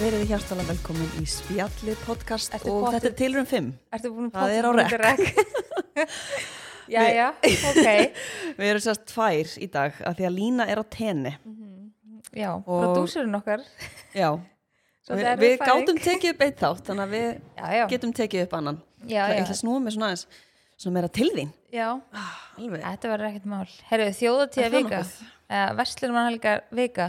verið hjartalega velkomin í Spjalli podcast Ertu og pottur- þetta er tilrum 5. Ertu búin að Það er á potta rekk? já, já, ok. Við erum sérst tvær í dag að því að Lína er á tenni. Já, prodúsurinn okkar. Já, Svo við, það er við fæðing. gátum tekið upp eitt þátt, þannig að við Já, já. getum tekið upp annan. Já, Það já. er ekki að snúa mig svona aðeins, svona meira til þín. já, Alveg. þetta verður ekkert mál. Herru, þjóðatíða Er það vika. nokkuð? Uh, Vestlunumannhelga vika.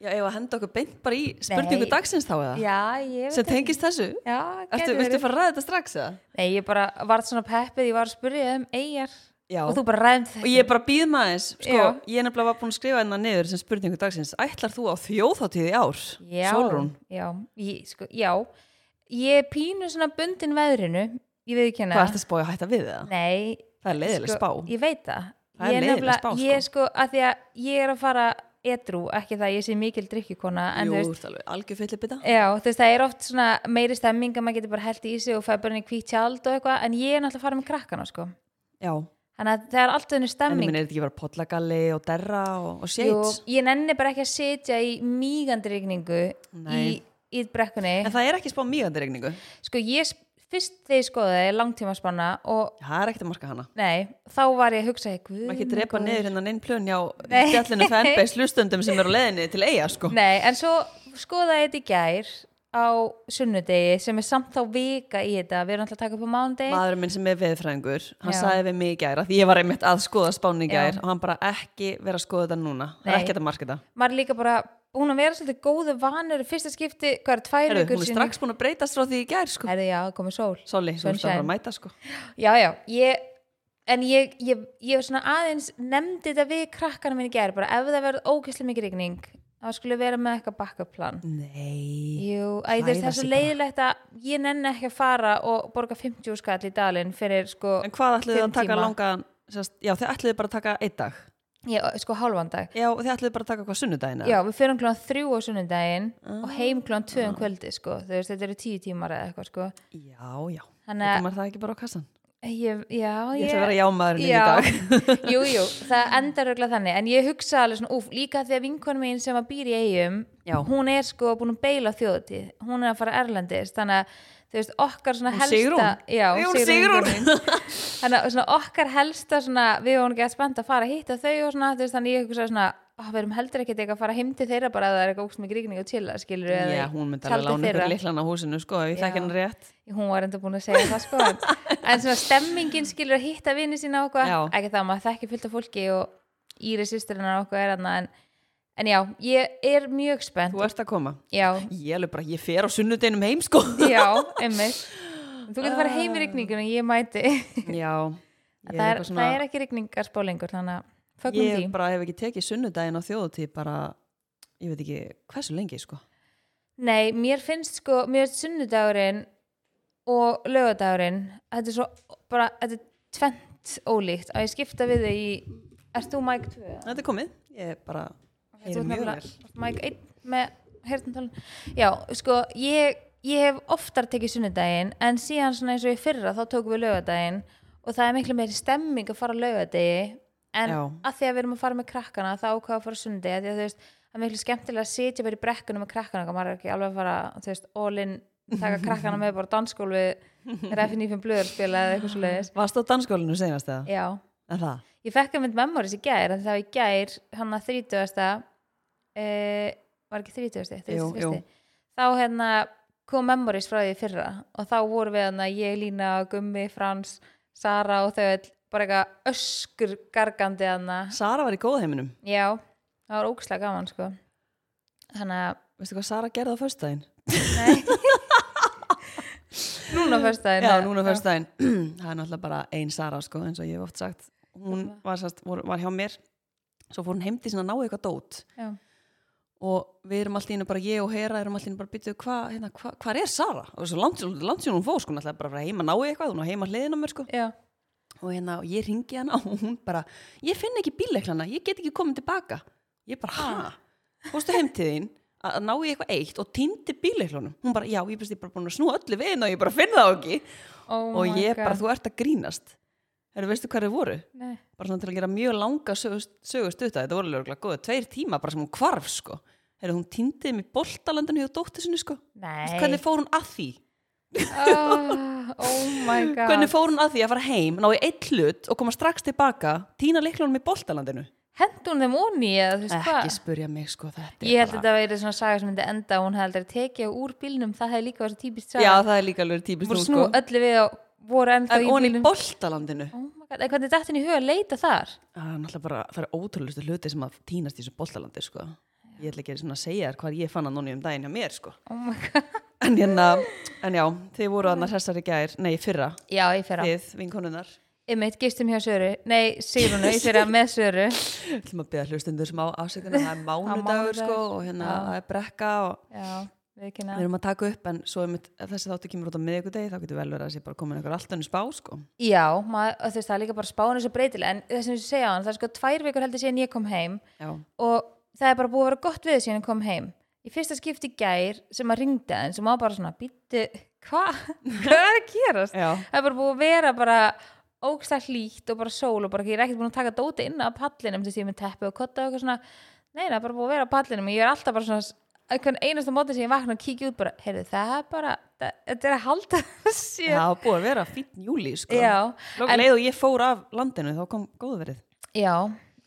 Já, ef að henda okkur beint bara í spurningu Nei. dagsins þá eða? Já, ég Ah. Sem veit ekki. tengist þessu? Já, Ertu, getur viltu verið. fara að ræða þetta strax eða? Nei, ég bara varð svona peppið, ég var að spyrja um eigjar Já. og þú bara ræðum þetta. Og ég bara býð maður eins, sko, Já. ég nefnilega var búin að skrifa hennar niður sem spurningu dagsins. Ætlar þú á þjóðháttíð í ár? Já, Sólrún. Já, ég, sko, já. Ég er pínu svona bundin veðrinu, ég veit ekki hana. Hvað ert að spája að hætta við það? Nei, Það er leiðileg sko, spá. ég veit það, Það er ég leiðileg nefnilega- spá, sko. ég sko, að því að ég er að fara edru, ekki það að ég sé mikil drikkjukona en Jú, þú þú veist, ert alveg algjör fyllibita. já, þú veist, það er oft svona meiri stemming að maður getur bara held í sig og fæði bara henni hvít tjald og eitthvað, en ég er náttúrulega að fara með krakkana sko, Já, þannig að það er alltaf henni en ég stemming minn er þetta ekki bara pollagalli og derra og, og Jú, shit. ég nenni bara ekki að sitja í mígandi rigningu í, Nei. í brekkunni, En það er ekki spá mýgandi regningu. sko ég sp- fyrst þegar ég skoði það er langtíma spanna og Það er ekkert að marka hana. nei, þá var ég að hugsa guð Maður ekki minn drepa góður. niður hennan einn plön hjá Nei. stjallinu fanbase hlustundum sem eru á leiðinni til eiga, sko. Nei, en svo skoðaði ég þetta í gær á sunnudegi sem er samt þá vika í þetta við erum alltaf að taka upp á mánudegi Maðurinn minn sem er veðfræðingur, hann Já. sagði við mig í gær að ég var einmitt að skoða spáni í Já. gær og hann bara ekki vera að skoða þetta núna. Það er Nei. ekki að marka þetta. maður er líka bara búin að vera svolítið góðu vanur í fyrsta skipti, hvað er tvær Herru, vikur hún er síðan- strax búin að breytast frá því í gær, sko. Herðu, já, komið sól Soli, þú ert að fara Sunshine. að mæta, sko. Já, já, ég en ég, ég, ég svona aðeins nefndi þetta við krakkana minni í gær bara ef það verður ógæslega mikið rigning þá skulle vera með eitthvað backup plan Nei. Jú, æ, þú veist, það Hræra er svo sig bara. leiðilegt að ég nenni ekki að fara og borga 50 skall í dalinn fyrir sko, En hvað ætluðu Fimm að taka tíma. langan, sérst, já, þið ætluðu bara að taka einn dag. ég, sko hálfan dag Já, og þið ætluðu bara að taka hvað sunnudagina? Já, við fyrir kljóðan þrjú á sunnudaginn Ah. og heim kljóðan tvö um kvöldi, sko. Þú veist, þetta eru tíu tímar eða eitthvað, sko. Já, já. Þannig Þetta að, maður það ekki bara á kassan. ég, já, Ég ætla að vera jámaðurinn í dag. jú, jú, það endar auðvitað þannig. En ég hugsa alveg svona, úf, líka því að vinkonum mín sem að býr í eigum, Já. hún er sko búin að beila þjóðutíð. Hún er að fara erlendist, þannig að, þú veist, okkar svona Hún helsta... Sigrún? Já, Jú, hún Sigrún. vinkona mín. þannig að svona okkar helsta svona, við höfum ekki að spenda að fara að hitta þau og svona, þú veist, þannig ég hugsa svona ó, við erum heldur ekkert eitthvað að fara heim til þeirra bara að það er eitthvað ógst mikið rigning og chilla, skilur við Já, hún myndi alveg lána ykkur líklan á húsinu, sko, ef ég Já. þekki hann rétt. hún var enda búin að segja það sko en- en svona stemmingin skilur að hitta vini sína og Já. eitthvað, ekki það maður þekki fullt af fólki og Íri sýsturinnar og eitthvað er hann en, en já, ég er mjög spennt Þú ert að koma. já, Ég alveg bara, ég fer á sunnudeginum heim, sko. já, einmitt þú getur farið heim í rigningun og ég mæti já. Ég það er, eitthvað það er ekki rigningarspá lengur þannig að fögnum Ég því bara hef ekki tekið sunnudagin á þjóðutíð bara, ég veit ekki hversu lengi, sko. Nei, mér finnst sko, mér finnst sunnudagurinn og lögadagurinn þetta er svo bara, þetta er tvent ólíkt að ég skipta við þau í Ert þú Mike 2? eða? Þetta er komið. Ég bara, Þú heyri ert mjög nefnilega- vel. Mike 1 með hertantalun Já, sko, ég, ég hef oftar tekið sunnudaginn en síðan svona eins og ég fyrra þá tókum við lögadaginn og það er miklu meiri stemming að fara á lögadegi en Já. að því að við erum að fara með krakkana þá ákvaða að fara á sunnudegi því að þú veist það er miklu skemmtilega að sitja bara í brekkunum með krakkana og maður er ekki alveg að fara, þú veist, all in taka krakkana með bara á dansskólu ræfin í fimm blöður spila eða eitthvað svo leiðis Varst á danskólinu senast eða? Já, En það? Ég fekk að mynd memories í gær en það var í gær, hann að 30. Uh, var ekki 30. Jú, jú. 31. Þá hérna kom memories frá því í fyrra og þá voru við hann að ég, Lína, Gummi, Frans, Sara og þau öll bara eitthvað öskur gargandi hann Sara var í góðheiminum. Já, það var ógslag gaman sko. Þannig að, Veistu hvað Sara gerði á föstudaginn? nei. núna fyrst það. Já, núna fyrst daginn. Það er náttúrulega bara ein Sara, sko, eins og ég hef oft sagt. Hún var, sast, vor, var hjá mér, svo fór hún heimdi sinna að ná eitthvað dót Já, og við erum alltaf innu bara, ég og Hera erum alltaf innu bara býttu, hvað hérna, hva, hvar er Sara? Og svo langt, langt síðan hún fór, sko, hún ætlaði bara að fara heima að ná í eitthvað, hún var heima hliðin á mér, sko. já. Og hérna, og ég ringi hana og hún bara, ég finn ekki bíleiklana, ég get ekki komið tilbaka. Ég bara, hæ? Fórstu heim til þín að að ná í eitthvað eitt og týndi bíleiklunum. Hún bara, já, ég best ég bara búin að snúa öllu við hérna og ég bara finn það ekki Oh og my ég bara, God. þú ert að grínast Heru, veistu hvað þið voru? Nei. bara svona til að gera mjög langa sögust, sögust þetta voru lögulega góðu, tveir tíma bara sem hún kvarf sko Heyrðu, hún týndi þeim í boltalandinu hjá dóttur sinni sko. Nei. Hvernig fór hún að því? oh, oh my god. Hvernig fór hún að því að fara heim, ná í eitt hlut og koma strax tilbaka, týna leiklunum í boltalandinu? Hendur hún þeim onni eða þú veist Ekki hvað? spurja mig sko þetta. Ég held að þetta væri svona saga sem myndi enda og hún hefði aldrei tekið úr bílnum, það hefði líka verið svo típist saga. Já, það er líka alveg típist voru nú snú sko. öllu við og voru ennþá En í hún í bílnum. boltalandinu. Oh my god, en hvernig dættin í huga að leita þar? Það er náttúrulega bara, það er ótrúlustu hluti sem að týnast í þessu boltalandi sko. Ég ætla ekki svona að segja þér hvað ég fann að núni um daginn hjá mér sko. Oh my god. En, hérna, en já, þið voru aðna hressari gær, nei í fyrra, Já, ég fyrra. þið vinkonunnar. Einmitt gistum hjá Söru. Nei, Sigrunu, ég fyrra með Söru. Við ætlum að beða hlustundur sem á afsökunar, það er mánudagur. mánudagur sko og hérna Já. það er brekka og Já, við kynna. við erum að taka upp en svo einmitt, ef þessi þáttu kemur út á miðvikudegi þá getur vel verið að þessi bara komin einhver allt önnur spá sko. Já, maður, þú veist, það er líka bara spáinu svo breytilega, en það sem ég segja á hann, það er sko tvær vikur heldur síðan ég kom heim Já, og það er bara búið að vera gott við síðan ég kom heim. Í fyrsta skipti í gær sem að ringdi aðeins og maður bara svona, býttu, hvað? Hvað er að gerast? já, það er bara búið að vera bara ógsta hlýtt og bara sól og bara ég er ekkert búin að taka dóti inn af pallinum þess að ég er með teppi og kotta og eitthvað svona nei, það er bara búið að vera á pallinum og ég er alltaf bara svona einhvern einasta móti sem ég vakna og kíkja út bara, heyrðu, það er bara það- þetta er að halda sér það var búið að vera fínn júli sko. Já, Lók, en- leið og ég fór af landinu þá kom góðverið. Já,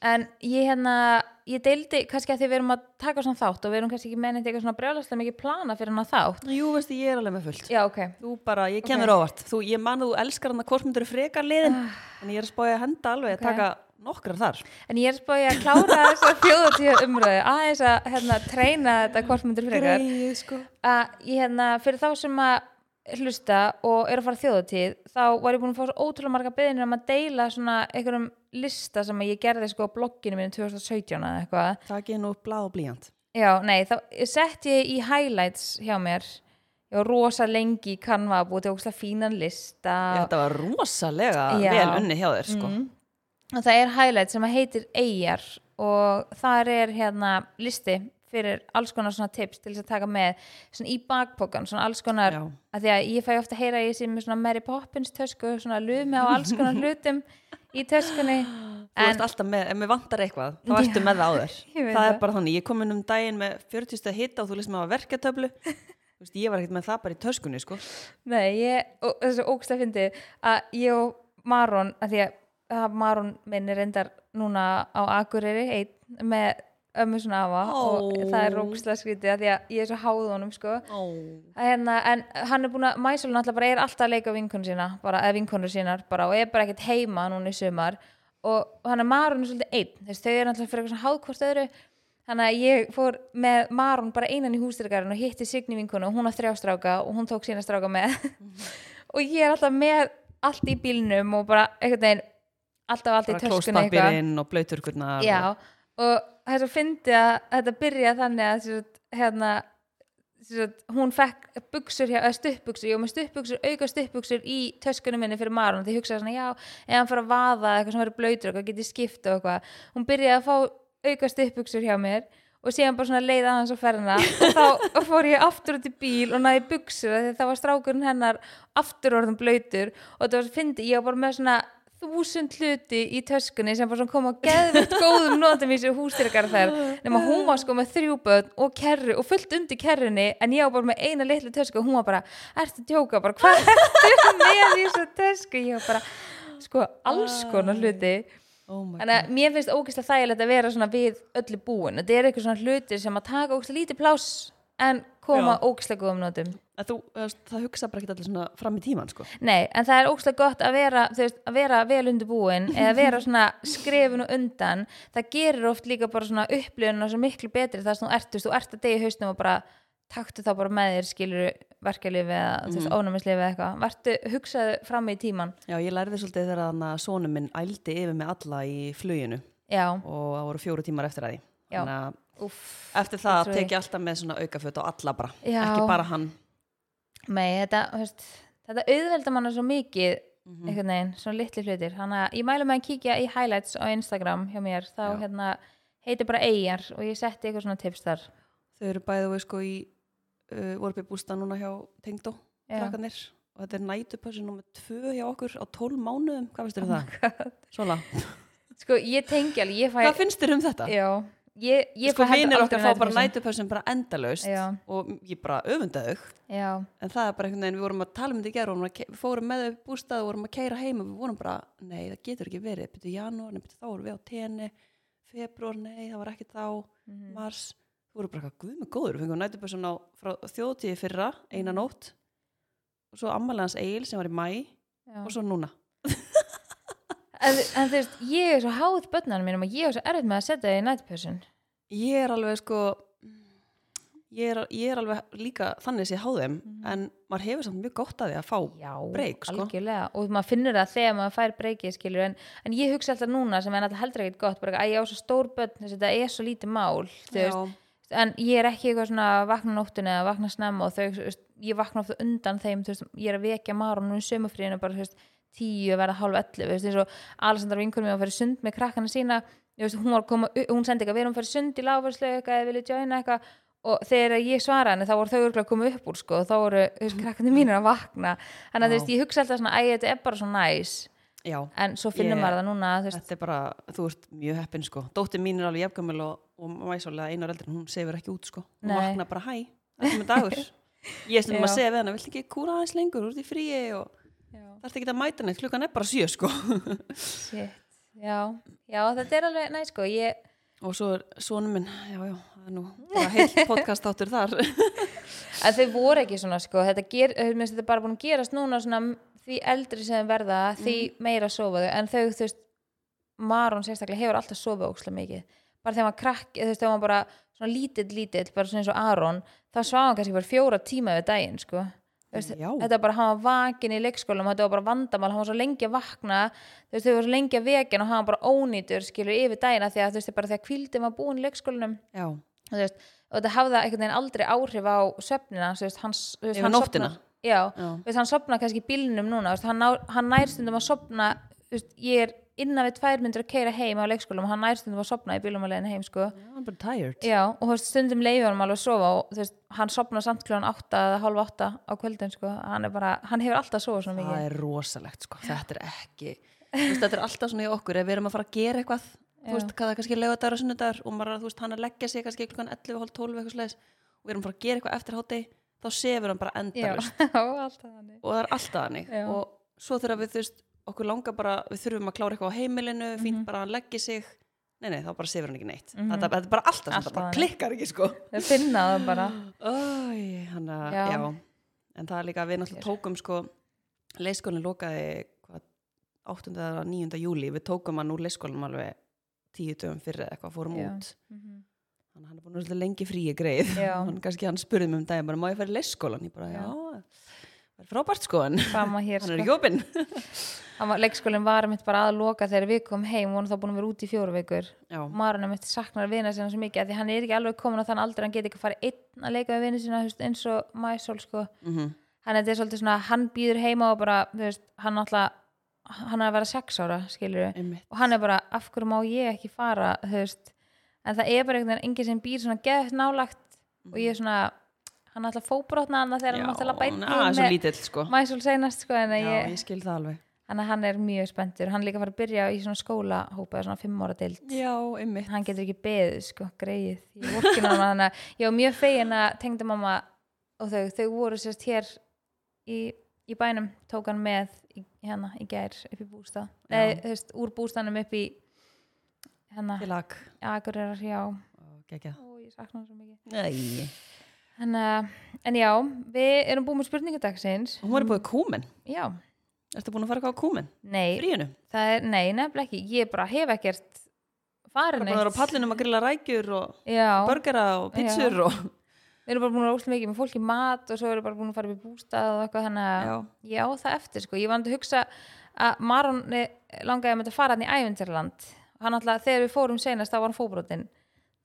en ég hérna ég deildi kannski að því við erum að taka svona þátt og við erum kannski ekki mennið eitthvað svona brjálaslega mikið plana fyrir hann að þátt Jú, veistu, ég er alveg með fullt. Já, ok, Þú bara, ég kemur okay. óvart. Þú, ég man þú elskar hann að hvort myndur frekar liðin, en ég er að spája að henda alveg Ah. Ok. að taka nokkrar þar. en ég er spáði að klára þess að fjóðatíða umröðu aðeins að hérna, treyna þetta hvort myndir frekar Greið, sko. að ég hérna, fyrir þá sem að hlusta og eru að fara þjóðatíð þá var ég búin að fá svo ótrúlega marga beðinir um að deila svona einhverjum lista sem að ég gerði sko á blogginu mínu 2017 eða eitthvað Takk ég nú blað og blíjant. Já, nei, þá sett ég í highlights hjá mér ég var rosa lengi í Canva að búið til ógstlega fínan lista Þetta var rosalega Ah. Já. Mhm. vel unni hjá þér, sko. og það er highlight sem að heitir Eyjar og þar er hérna listi fyrir alls konar svona tips til þess að taka með svona í bakpokan, svona alls konar Já. að því að ég fæ ofta að heyra að ég sé með svona Mary Poppins tösku, svona lumi á alls konar hlutum í töskunni Þú en ert alltaf með, ef mér vantar eitthvað, þá ertu með það á þér. Ég veit Það er það. bara þannig, ég kom inn um daginn með 40 stað hita og þú leist með að verkatöflu. Þú veist, ég var ekkert með það bara í töskunni, sko. Nei, ég, og þessu ógsta fyndi að ég og Maron að því að- að Maron minn er reyndar núna á Akureyri einn með ömmu svona afa Ó. og það er ógsta skrítið að því að ég er svo háð honum sko Oh. Að hérna, en hann er búin að Mæsul náttúrulega bara er alltaf að leika vinkonu sína bara, eða vinkonur sínar bara og er bara ekkert heima núna í sumar og hann er Maron er svolítið einn þess þau eru náttúrulega fyrir eitthvað svona háðkvort öðru þannig að ég fór með Maron bara einan í hústyrgarinn og hitti Signi vinkonu og hún á þrjá stráka og hún tók sína stráka með og ég er alltaf með allt í bílnum og bara einhvern veginn alltaf allt í Bara töskunni eitthvað klóspapirinn og blöyturkurnar. Já, og það er svo fyndi að þetta byrja þannig að sem sagt, hérna, sem sagt, hún fekk buksur, hjá, eða stuttbuksur, ég var með stuttbuksur, auka stuttbuksur í töskunum minni fyrir marun, því ég hugsaði svona, já, ef hann fara að vaða eitthvað sem verið blöytur eitthvað, geti skipt og eitthvað, hún byrjaði að fá auka stuttbuksur hjá mér og síðan bara svona leiða hans á ferðina og þá fór ég aftur út í bíl og næði buksur af því að það var strákurinn hennar aftur orðum blöytur og það var svo fyndi, ég var bara með svona þúsund hluti í töskunni sem bara svona kom á geðvitt góðum notum í sér hústyrkar þær nema hún var sko með þrjú börn og kerru og fullt undir kerrunni en ég var bara með eina litlu tösku og hún var bara ertu að djóka bara hvað ertu með í þessu tösku ég var bara sko alls konar hluti Oh my þannig að mér finnst ógeðslega þægilegt að vera svona við öllu búin þetta er eitthvað svona hlutir sem að taka ógeðslega lítið pláss en koma Já. ógeðslega góðum notum að þú, þú veist, það hugsa bara ekkert allir svona fram í tíman sko. Nei, en það er ógslag gott að vera, þú veist, að vera vel undirbúin eða vera svona skrefinu undan það gerir oft líka bara svona upplifun og svo miklu betri þar sem þú ert þú veist, þú ert að degi haustum og bara taktu þá bara með þér skilur verkeflifi eða mm -hmm. ónumislifi eða eitthvað, vertu hugsaðu fram í tíman, Já, ég lærði svolítið þegar hann að sonu minn ældi yfir með alla í fluginu já og það voru fjóru tímar eftir að því. Já. Þannig að Úff, eftir það Ótrúlegt. tek ég alltaf með svona aukaföt á alla bara, Já. ekki bara hann. Nei, þetta, þú veist, þetta auðvelda manna svo mikið Mhm. einhvern veginn, svona litli hlutir þannig að ég mælu með að kíkja í highlights á Instagram hjá mér, þá Já. hérna heitir bara eigjar og ég setti eitthvað svona tips þar Þau eru bæðið og sko í uh, voru upp í bústa núna hjá Tengdó, Já. krakkanir og þetta er nætupassi nummer tvö hjá okkur á 12 Oh mánuðum, hvað finnst þér um það? Svona, Sko, ég tengi alveg, ég fæ hvað finnst þér um þetta? Já, ég, ég sko fæ heldur vinnir aldrei okkar fá bara næturpeysu. nætupössum bara endalaust Já. og ég bara öfunda þau já, en það er bara einhvern veginn, við vorum að tala um þetta í gerð og við fórum með þau upp í bústað og vorum að keira heim og við vorum bara, nei það getur ekki verið byrju janúar, nei byrju þá vorum við á tenni februar, nei það var ekki þá Mm. mhm, mars, við vorum bara eitthvað guð með góður, við fengum nætupössun á frá þjóðtíði fyrra, Mm. eina nótt og svo ammalans Egil sem var í mæ já. og svo núna En, en þú veist, ég er svo háð börnarnir mínum og ég er svo erfitt með að setja það í nætpössun ég er alveg sko ég er, ég er alveg líka þannig sé háðum mm -hmm. en maður hefur samt mjög gott að því að fá Já, break, sko. algjörlega og maður finnur það þegar maður fær breykið skilur en, en ég hugsa alltaf núna sem er alltaf heldur ekkert gott bara að ég á svo stór börn þess að þetta er svo lítið mál þú Já. veist, en ég er ekki eitthvað svona að vakna á nóttunni eða vakna snemma og þau, þú veist, ég vakna ofta undan þeim, þú veist, ég er að vekja marun nú í sömufríðinu bara, þú veist, tíu að vera hálf ellu, þú veist, eins og Alessandra vinkunum mér að fara í sund með krakkana sína þú veist, hún var að koma, hún sendi eitthvað, við erum að fara í sund í láfarslu eitthvað, eða vilja joina eitthvað og þegar ég svara henni, þá voru þau örgulega að koma upp úr sko, og þá voru, þú veist, krakkandi mínir að vakna þannig að, þú Vá. veist, ég hugsa alltaf svona, æ, þetta er bara svo næs já, en svo finnum Ég- maður það núna, þú veist, þetta er bara, þú ert mjög heppin sko dóttir mín er alveg jafngamil og, og mæsólega einar eldri, en hún sefur ekki út sko hún Nei. vaknar bara hæ, þetta með dagur ég er stundum Já. að segja við hana, vilt ekki kúra aðeins lengur úr því fríi og Já. það er ekki að mæta neitt, klukkan er bara sjö sko shit, já, já, þetta er alveg næs sko, ég, og svo er sonum minn, já já, það er nú bara heill podcast áttur þar að þau voru ekki svona sko, þetta, ger, eh, mér finnst þetta bara búin að gerast núna svona því eldri sem þau verða því meira sofa þau en þau þú veist, Maron sérstaklega hefur alltaf sofað ókslega mikið bara þegar maður krakk, þú veist, þegar maður bara svona lítill, lítill, bara svona eins og Aron þá svaf hann kannski bara fjóra tíma við daginn sko. Þú veist, Já. þetta var bara hann var vakin í leikskólanum, þetta var bara vandamál hann var svo lengi að vakna, þú veist, þau var svo lengi að vekin og hann var bara ónýtur, skilur, yfir dagina því að þú veist, bara þegar kvíldin var búin í leikskólanum já, og, þú veist, og þetta hafði það einhvern veginn aldrei áhrif á söfnina þú veist, hans, þú veist, Yfir hann nóttina? sofnar- já, Já. þú veist, hann sopna kannski í bílnum núna þú veist, hann, ná, hann nærstundum að sopna veist, ég er innan við tvær myndir að keira heim á leikskólum og hann nærstundum að sopna í bílnum að leiðin heim sko. já, I'm bara tired já, og þú veist, stundum leiði hann alveg að sofa og þú veist, hann sopna samt kljóðan átta eða hálfa átta á kvöldin sko. hann, er bara, hann hefur alltaf að sofa svona það mikið er rosalegt sko, þetta er ekki þú veist, þetta er alltaf svona í okkur, ef við erum að fara að gera eitthvað þú veist, hvað það er kannski laugardagur og sunnudagur og maður, er að, þú veist, hann er að leggja sig kannski klukkan 11, hálf 12 eitthvað slæðis og við erum að fara að gera eitthvað eftir hátti þá sefur hann bara já, endalust alltaf þannig og það er alltaf hannig Já. og svo þegar við, þú veist, okkur langar bara við þurfum að klára eitthvað á heimilinu, fínt bara að hann leggja sig nei, nei, þá bara sefur hann ekki neitt Mhm. þetta, þetta er bara alltaf, Alltaf alltaf bara þannig. klikkar ekki sko þau finna það bara Æ, hann að, Já. já. En það er líka að við náttúrulega tókum sko, leyskólinn lokaði hvað, 8. eða 9. júli, við tókum hann úr leyskólinum alveg tíu dögum fyrir eitthvað, fórum Já. út. Þannig að hann er búin að vera lengi fríi greið. Já. hann kannski hann spurði mig um daginn, bara má ég fara í leyskólan? Ég bara, já, það er frábært sko, en fram að hér hann er jópin. Hann var, leikskólinn var mitt bara að loka þegar við komum heim og hann þá búin að vera út í fjóru vikur já, Marun er mitt saknar vina sinna svo mikið af því hann er ekki alveg komin á þann aldrei hann geti ekki að fara einn að leika við vina sinna þú veist, eins og Mæsól sko mm hann er svolítið svona, hann býður heima og bara þú veist, hann alltaf hann er að vera sex ára, skilur við einmitt. og hann er bara, af hverju má ég ekki fara þú veist, en það er bara einhvern veginn enginn sem býr svona geðt nálagt og ég er svona, hann alltaf fóbrotna hann þegar hann náttúrulega Já, hann er bæti svo lítill sko. Mæsól seinast sko, en að Já, ég, ég skil það alveg. Þannig að hann er mjög spenntur. Hann er líka að fara að byrja í svona skólahópa eða svona fimm ára dild. Já, einmitt. Hann getur ekki beðið, sko, greið. Ég vorkin á hann þannig að ég var mjög fegin að tengda mamma og þau, þau voru sérst hér í, í bænum, tók hann með í, hérna í gær upp í bústað. Já. Nei, þú veist, úr bústaðnum upp í hérna, Til lag. Akureyrar, já. Gekja. Ó, ég sakna hann svo mikið. Nei. En, uh, en já, við erum búin með spurningadagsins. Hún var búið kúmen. Já, Ertu búin að fara eitthvað á kúmen? nei, Fríinu? það er, nei, nefnilega ekki. Ég bara hef ekkert Bara farin búin að vera á pallinum að grilla rækjur og Já, börgara og pizzur og... við erum bara búin að óslega mikið með fólk í mat og svo erum við bara búin að fara upp í bústað og eitthvað þannig að Já. já, það eftir sko. Ég var að hugsa að Maron langaði að mynda að fara hann í ævindjarland. Hann alltaf, þegar við fórum senast, þá var hann fóbrotin.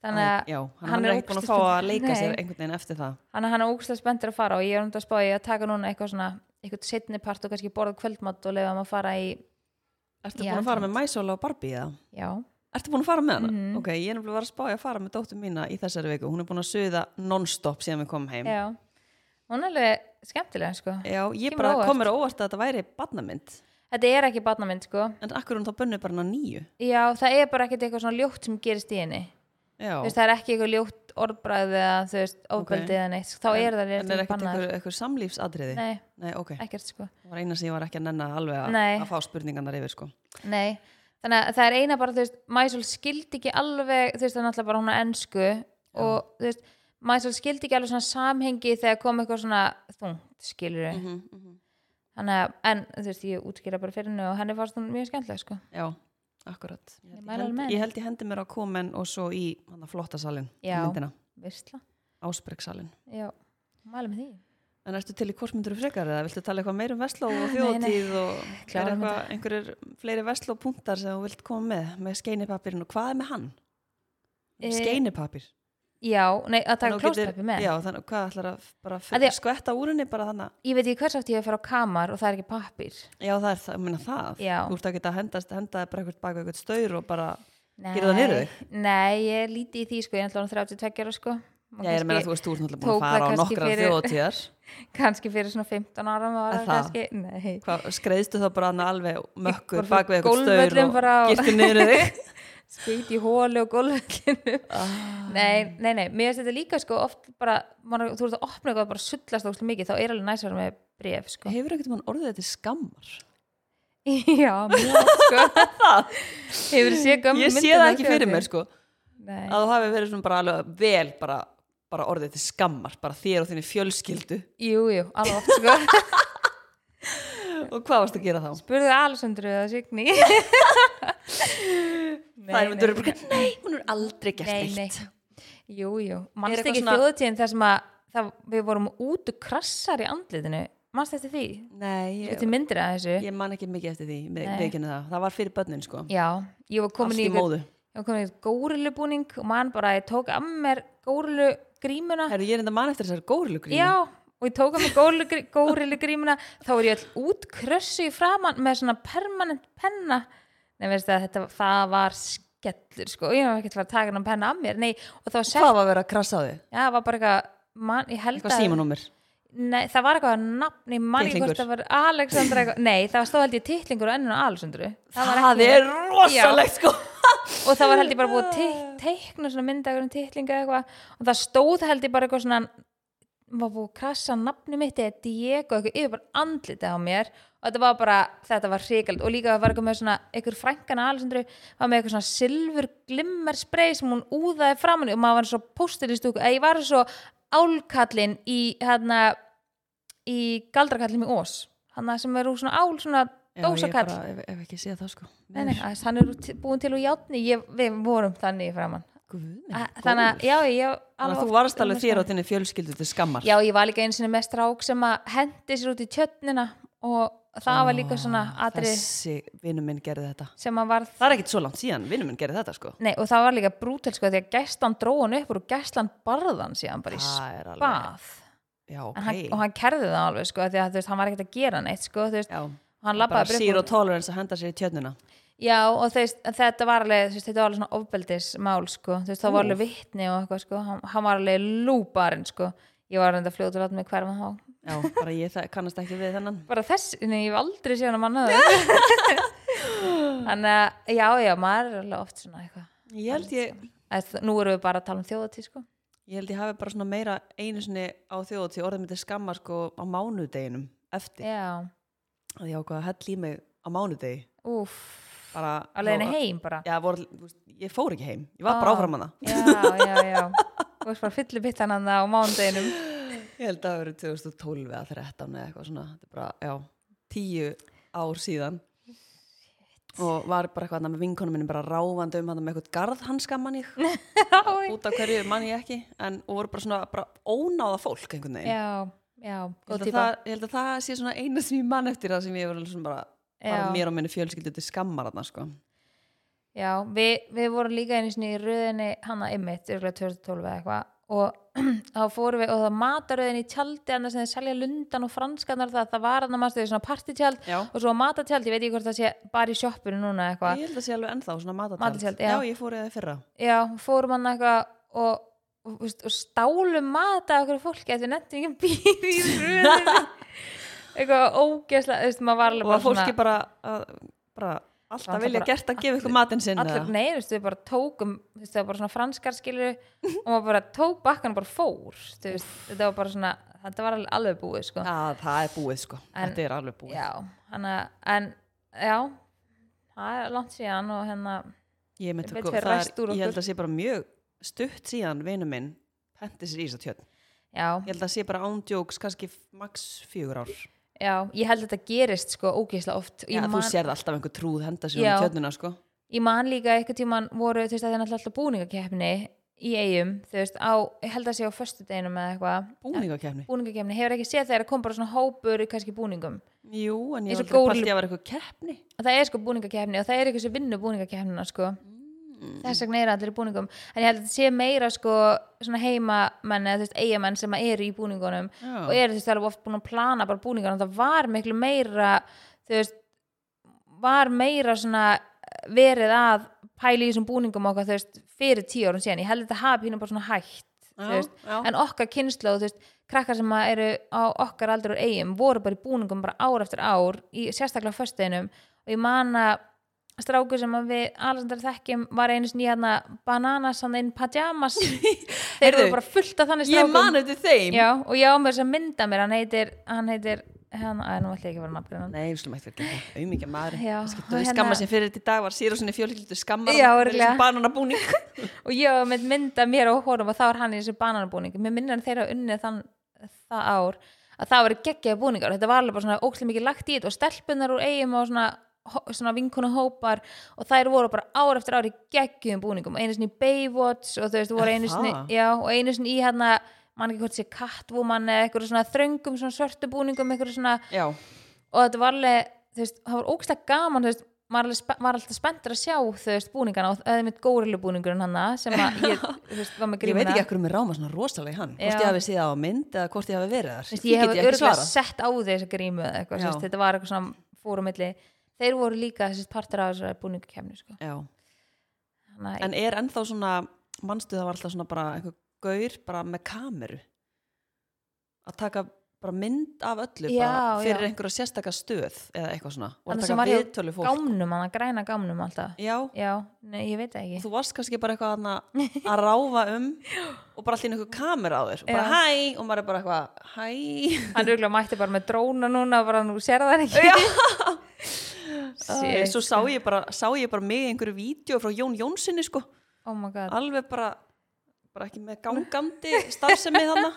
Þannig að Já, hann, hann hann er er ekki búin að fá ógeðslega- að leika sér Nei. einhvern veginn eftir það. hann, hann er ógstlega spenntur að fara og ég er um þetta að spá ég að taka núna eitthvað svona, eitthvað setni part og kannski borða kvöldmatt og leifa hann að fara í, Ertu Já, búin að fara með Mæsóla og Barbie eða? já, Ertu búin að fara með hana? Mhm. Ok, ég er nefnilega var að spája að fara með dóttur mína í þessari viku. Hún er búin að suða non-stop síðan við komum heim. já. Hún er alveg skemmtilega sko. Já, ég Kemur bara á óvart. komur óvart að þetta væri badnamynd. Þetta er ekki barnamynd sko. En akkur hún þá bönnur bara hana nýju. Já, það er bara ekkert eitthvað svona ljótt sem gerist í henni. já. Þú veist, það er ekki eitthvað ljótt orðbræði eða þú veist, ofbeldið eða neitt þá er það en er reyndið ekkert bannað einhver, einhver samlífsadriði nei, Nei, ok, ekkert sko það var eina sem ég var ekki að nenna alveg að, Nei. að fá spurningarnar yfir sko. nei, þannig að það er eina bara þú veist, Mæsól skildi ekki alveg þú veist, það er náttúrulega bara hún á ensku og þú veist, Mæsól skildi ekki alveg svona samhengi þegar kom eitthvað svona þungt skilur mm -hmm. þannig að, en þú veist, ég útskýra bara fyrir henni og henni fannst hún mjög skemmtileg sko Já, akkurat Ég held Ég ég, mæli hend, alveg með ég henni. held ég hendi mér á komin og svo í hana, flottasalin Já. myndina, Vistla, ásbreksalin já, mæla með því En ertu til í korsmyndur frekar eða viltu tala eitthvað meir um Vestló og þjóðtíð og er Klárum eitthvað, einhverjir fleiri Vestló punktar sem þú vilt koma með með skeinipapirinn og hvað er með hann? Eh, E... Skeinipapir Já, nei, að taka Þannig þú getur- klóspeppi með Já, þannig hvað ætlar að bara Að því- fyrir, skvetta úr henni bara þannig Ég veit ekki hvers átt ég að fara á kamar og það er ekki pappir Já, það er það, ég meina það Já. Þú ert að geta að hendast, henda þér bara eitthvað baka eitthvað staur og bara Nei, Gerðu það niður þig? Nei, ég er lítið í því sko, ég er náttúrulega 32 ára sko Og Já, ég er að meina þú kannski, veist, þú ert náttúrulega tók búin að það fara á kannski nokkra fyrir- þjóðtíðar kannski fyrir svona 15 ára var Er það það? kannski, nei Hvað, skreiðstu þá bara hann alveg mökkur Bara bak við eitthvað gólfvöllum staur bara á- og girtu niður þig Skeit í hólu og gólfvellinu Ah. Nei, nei, nei, mér finnst þetta líka sko oft bara, maður, þú ert að opna eitthvað og bara sullast óslega mikið, þá er alveg næs að vera með bref sko Hefur ekkert mann orðið þetta skammar? Já, mjög oft, sko Hefur séð gömmu Ég sé það ekki fyrir mér sko Nei, að þú hafi verið svona bara alveg vel bara, bara orðið til skammar bara þér og þinni fjölskyldu jú, jú, alveg oft sko og hvað varst að gera þá? Spurðu Alessandru eða Signi Það er myndur bara, nei, hún er aldrei gert nei, neitt nei. Jú, jú, mannst eitthvað ekki svona- svona... þjóðtíðin þar sem að það, við vorum út og krassar í andlitinu mannst eftir því, Nei, ég, þetta myndir að þessu ég man ekki mikið eftir því með, Nei. með það, það var fyrir börnin sko já, ég var komin allt í í móðu ég var komin í einhvern górillubúning og mann bara, ég tók að mér górillu grímuna, Herru, ég er enda man eftir þessar górilugrími já og ég tók að mér górillu grímuna þá var ég all út krössu í framann með svona permanent penna nei, veistu að þetta, það var skellur sko, ég var ekki að fara að taka hann penna að mér, nei, og þá Hvað sett, var að vera að krassa á þig? já, það var bara eitthvað Man, ég held Eitthvað að símanúmer? Nei, það var eitthvað nafn í manni Titlingur. hvort það var Alexandra eitthvað Nei, það stóð held ég titlingur og ennur Alexandru Það, var ekki- er rosalegt sko Og það var held ég bara búið að te- teikna svona myndagur um titlinga eitthvað og það stóð held ég bara eitthvað svona var búið að krassa nafni mitt eða Diego eitthvað yfir bara andlitið á mér og þetta var bara, þetta var hrikald og líka það var eitthvað með svona, einhver frænkana Alessandru var með eitthvað svona silfur glimmer spray sem hún úðaði framann í og maður var svo póstur í stúku, eða ég var svo álkallin í hérna í galdrakallin í Ós hann sem er úr svona ál, svona dósakall Já, ég bara, ef, ef ekki sé það sko Nei, nei, aðeins, hann er úr- til- búinn til úr játni ég, við vorum þannig í framann Guð minn Að- þannig að, já, ég Þannig alveg að þú oft- varst alveg þér og þinni fjölskyldu til skammar já, ég var líka einu sinni með strák sem að hendi sér út í tjötnina og það var líka svona Ah, atrið Þessi vinnu minn gerði þetta sem að var Það er ekkit svo langt síðan, vinnu minn gerði þetta sko nei, og það var líka brútel sko því að gæstan dró hann upp úr og gæstan barðan síðan bara í Það er alveg spað Já, ok En hann, og hann kerði það alveg sko því að þú veist, hann var ekkert að gera neitt sko þú veist, Já, hann bara labbaði zero tolerance að henda sér í tjörnuna Já, og þú veist, en þetta var alveg, þú veist, þetta var alveg svona ofbeldismál, sko, þú veist, það var alveg vittni og eitthvað, sko, hann, hann var alveg lúbarinn, sko, ég var reynda að fljóta og láta mig hverfa þá. Já, bara ég þa- kannast ekki við þennan Bara þess, nei, ég hef aldrei séð hann að manna það. Þannig að, já, já, maður er alveg oft svona eitthvað. Ég held ég, Að, nú erum við bara að tala um þjóðatí, sko. ég held ég hafi bara svona meira einu sinni á þjóðu til orðið mitt er skammar sko á mánudeginum eftir Já, að ég ákvað að hella í mig á mánudegi úf, bara á leiðinni heim bara. Já, voru, þú veist, ég fór ekki heim, ég var bara Ah. áfram hana Já, já, já. Þú veist bara fyllir bittan hann á mándeginum. Ég held að það verið 2012 eða 13 eða eitthvað svona, þetta er bara, já, tíu ár síðan og var bara eitthvað þarna með vinkonum minni bara ráfandi um hann með eitthvað garðhanska mann ég út af hverju mann ég ekki en og voru bara svona bara ónáða fólk einhvern veginn. Já, já, ég, held góð að típa. það, ég held að það sé svona eina sem ég mann eftir það sem ég var alveg svona bara, bara Já. mér og minni fjölskyldu til skammar þarna sko. Já, við, við vorum líka einu sinni í röðinni hana ymmit, örgulega 2012 eða eitthvað og þá fórum við og það mataröðin í tjaldi annars sem þeir selja lundan og franskarnar það, það var annars þeir svona partitjald Já. og svo matatjald, ég veit ekki hvort það sé bara í sjoppunum núna eitthvað Ég held að sé alveg ennþá svona matatjald. Matatjald, já. ég fór eða í fyrra. Já, fórum hann eitthvað og, og, þú veist, og stálum mat af okkur fólki að við nettum ekki býr í röðinni eitthvað ógeðslega, þú veist, maður var alveg Og að fólki bara, að, bara alltaf náttúrulega vilja bara gert að gefa ykkur matinn sinna allir nei, þú veist, við bara tókum þú veist, það var bara svona franskar skilur og maður bara tók bakkan og bara fór þú veist, þetta var bara svona, þetta var alveg- alveg búið sko. Já, það er búið sko, En- þetta er alveg búið já, hana, en já það er langt síðan og hérna Ég, myndi, Ég veit sko, hver það er, ræst úr ég okkur. held að sé bara mjög stutt síðan vinu minn henti sér í þess að tjörn já, Ég held að sé bara ándjóks kannski f- max fjögur ár já, ég held að þetta gerist sko ógeðslega oft Ég Já, þú man- sérð alltaf einhver trúð henda sér Já. um tjörnina sko ég man líka eitthvað tíman voru þú veist að það er náttúrulega alltaf búningakeppni í eigum, þú veist, á, ég held að sé á föstudeginum eða eitthvað, Búningakefni búningakeppni hefur ekki séð þegar það kom bara svona hópur í kannski búningum, Jú, en ég Eins var og aldrei góri- pælt ég að vera eitthvað keppni og það er sko búningakeppni og það er eitthvað sem vinnur búningakeppnina sko Mm. þess vegna er allir í búningum en ég held að þetta sé meira sko svona heimamenn eða þú veist eigamenn sem eru í búningunum Já. og eru þú veist alveg oft búin að plana bara búningunum, það var miklu meira þú veist var meira svona verið að pæla í þessum búningum okkar þú veist fyrir tíu árum síðan, ég held að þetta hafi hérna bara svona hægt þú Já, veist, já. en okkar kynnslóð, þú veist krakkar sem að eru á okkar aldur og eigum voru bara í búningum bara ár eftir ár í sérstaklega föstudinum og ég man að stráku sem að við alveg þekkjum var einu sinni í hérna bananas hann inn pajamas þeir Heyrðu, eru bara fullt af þannig Ég strákum man eftir þeim Já, og ég á mér sem mynda mér hann heitir, hann heitir hann, að nú ætla ég ekki að vera nafngrinnan Nei, við slum ekki að gera auðmikið maður Já, og Skittu, hérna- skamma sér fyrir þetta í dag var sér og sinni fjölskyldu skammar Já, hann fyrir örugglega. þessum bananabúning og ég á mér mynda mér og honum og þá er hann í þessu bananabúning mér minnir hann þeirra unnið þann það ár að það var geggjaði búningar þetta var alveg bara svona ókslega mikið lagt í þetta og stelpunar úr eigum og svona, hó- svona vinkonu hópar og þær voru bara ár eftir ár í geggjum búningum einu sinni í Baywatch og þú veist voru Er einu sinni, það? já, og einu sinni í hérna mann ekki hvort sé Catwoman eða eitthvað svona þröngum svona svörtu búningum eitthvað svona Já, og þetta var alveg, þú veist, það var ógstlega gaman, þú veist, maður alveg spe, var alltaf spenntur að sjá, þú veist, búningana og það er mitt górillubúningurinn hann sem að ég, þú veist, var með ég grímuna. veit ekki ekkur um er ráma svona rosalega í hann Hvort Já. ég hafi séð það á mynd eða hvort ég hafi verið þar Þú veist, Því get ég hef ekki örgulega svarað. sett á því þessa grímu eða eitthvað, þú Já. veist, þetta var eitthvað svona fórumilli. Þeir voru líka þessi partur af þessari búningakefni, sko. Já. Þannig að, En er ennþá svona, manstu það var alltaf svona bara einhver gaur bara með kameru að taka bara mynd af öllu Já, bara fyrir já. einhverja sérstaka stöð eða eitthvað svona og að Annars sem taka var hjá viðtölu fólk gámnum, hann græna gámnum alltaf. Já, Já, nei, ég veit og það ekki. þú varst kannski bara eitthvað þarna að ráfa um og bara allir einhver kamera á þér og bara Já. hæ og maður er bara eitthvað hæ Hann örgulega mætti bara með dróna núna, bara nú sér það ekki. Æ, Shit. Svo sá ég bara, sá ég bara mig í einhverju vídeo frá Jón Jónssoni sko Oh my god. alveg bara, bara ekki með gangandi starfsemi þarna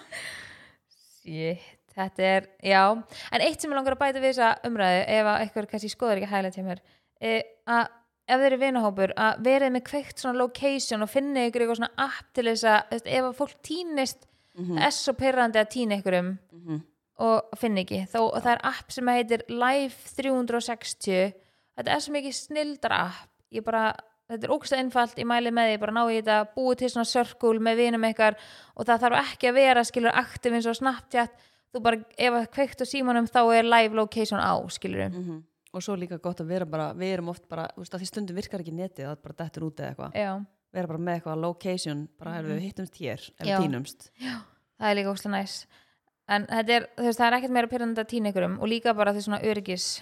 Shit, þetta er, já en eitt sem ég langar að bæta við þessa umræðu ef að eitthvað kannski skoður ekki hæglega til mér e, að ef þeir eru vinahópur að verið með kveikt svona location og finni ykkur eitthvað svona app til þess að þú veist, ef að fólk týnist mm -hmm. er svo pyrrandi að týna ykkur um Mhm. og finni ekki þó og það er app sem heitir Live 360 þetta er svo mikið snildar app ég bara, þetta er ógsta einfalt ég mæli með því, ég bara ná í þetta, búið til svona sörkul með vinum ykkar og það þarf ekki að vera skilur aktiv eins og Snapchat þú bara, ef það er kveikt á símanum þá er live location á, skilur -hmm. og svo líka gott að vera bara við erum oft bara, þú veist að því stundum virkar ekki netið það er bara dettur út eða eitthvað já, vera bara með eitthvað location, bara mm við hittumst hér ef Mhm. Já. við týnumst það er líka ógsta næs en þetta er, þú veist, það er ekkert meira pyrrandi að týna ykkurum og líka bara því svona öryggis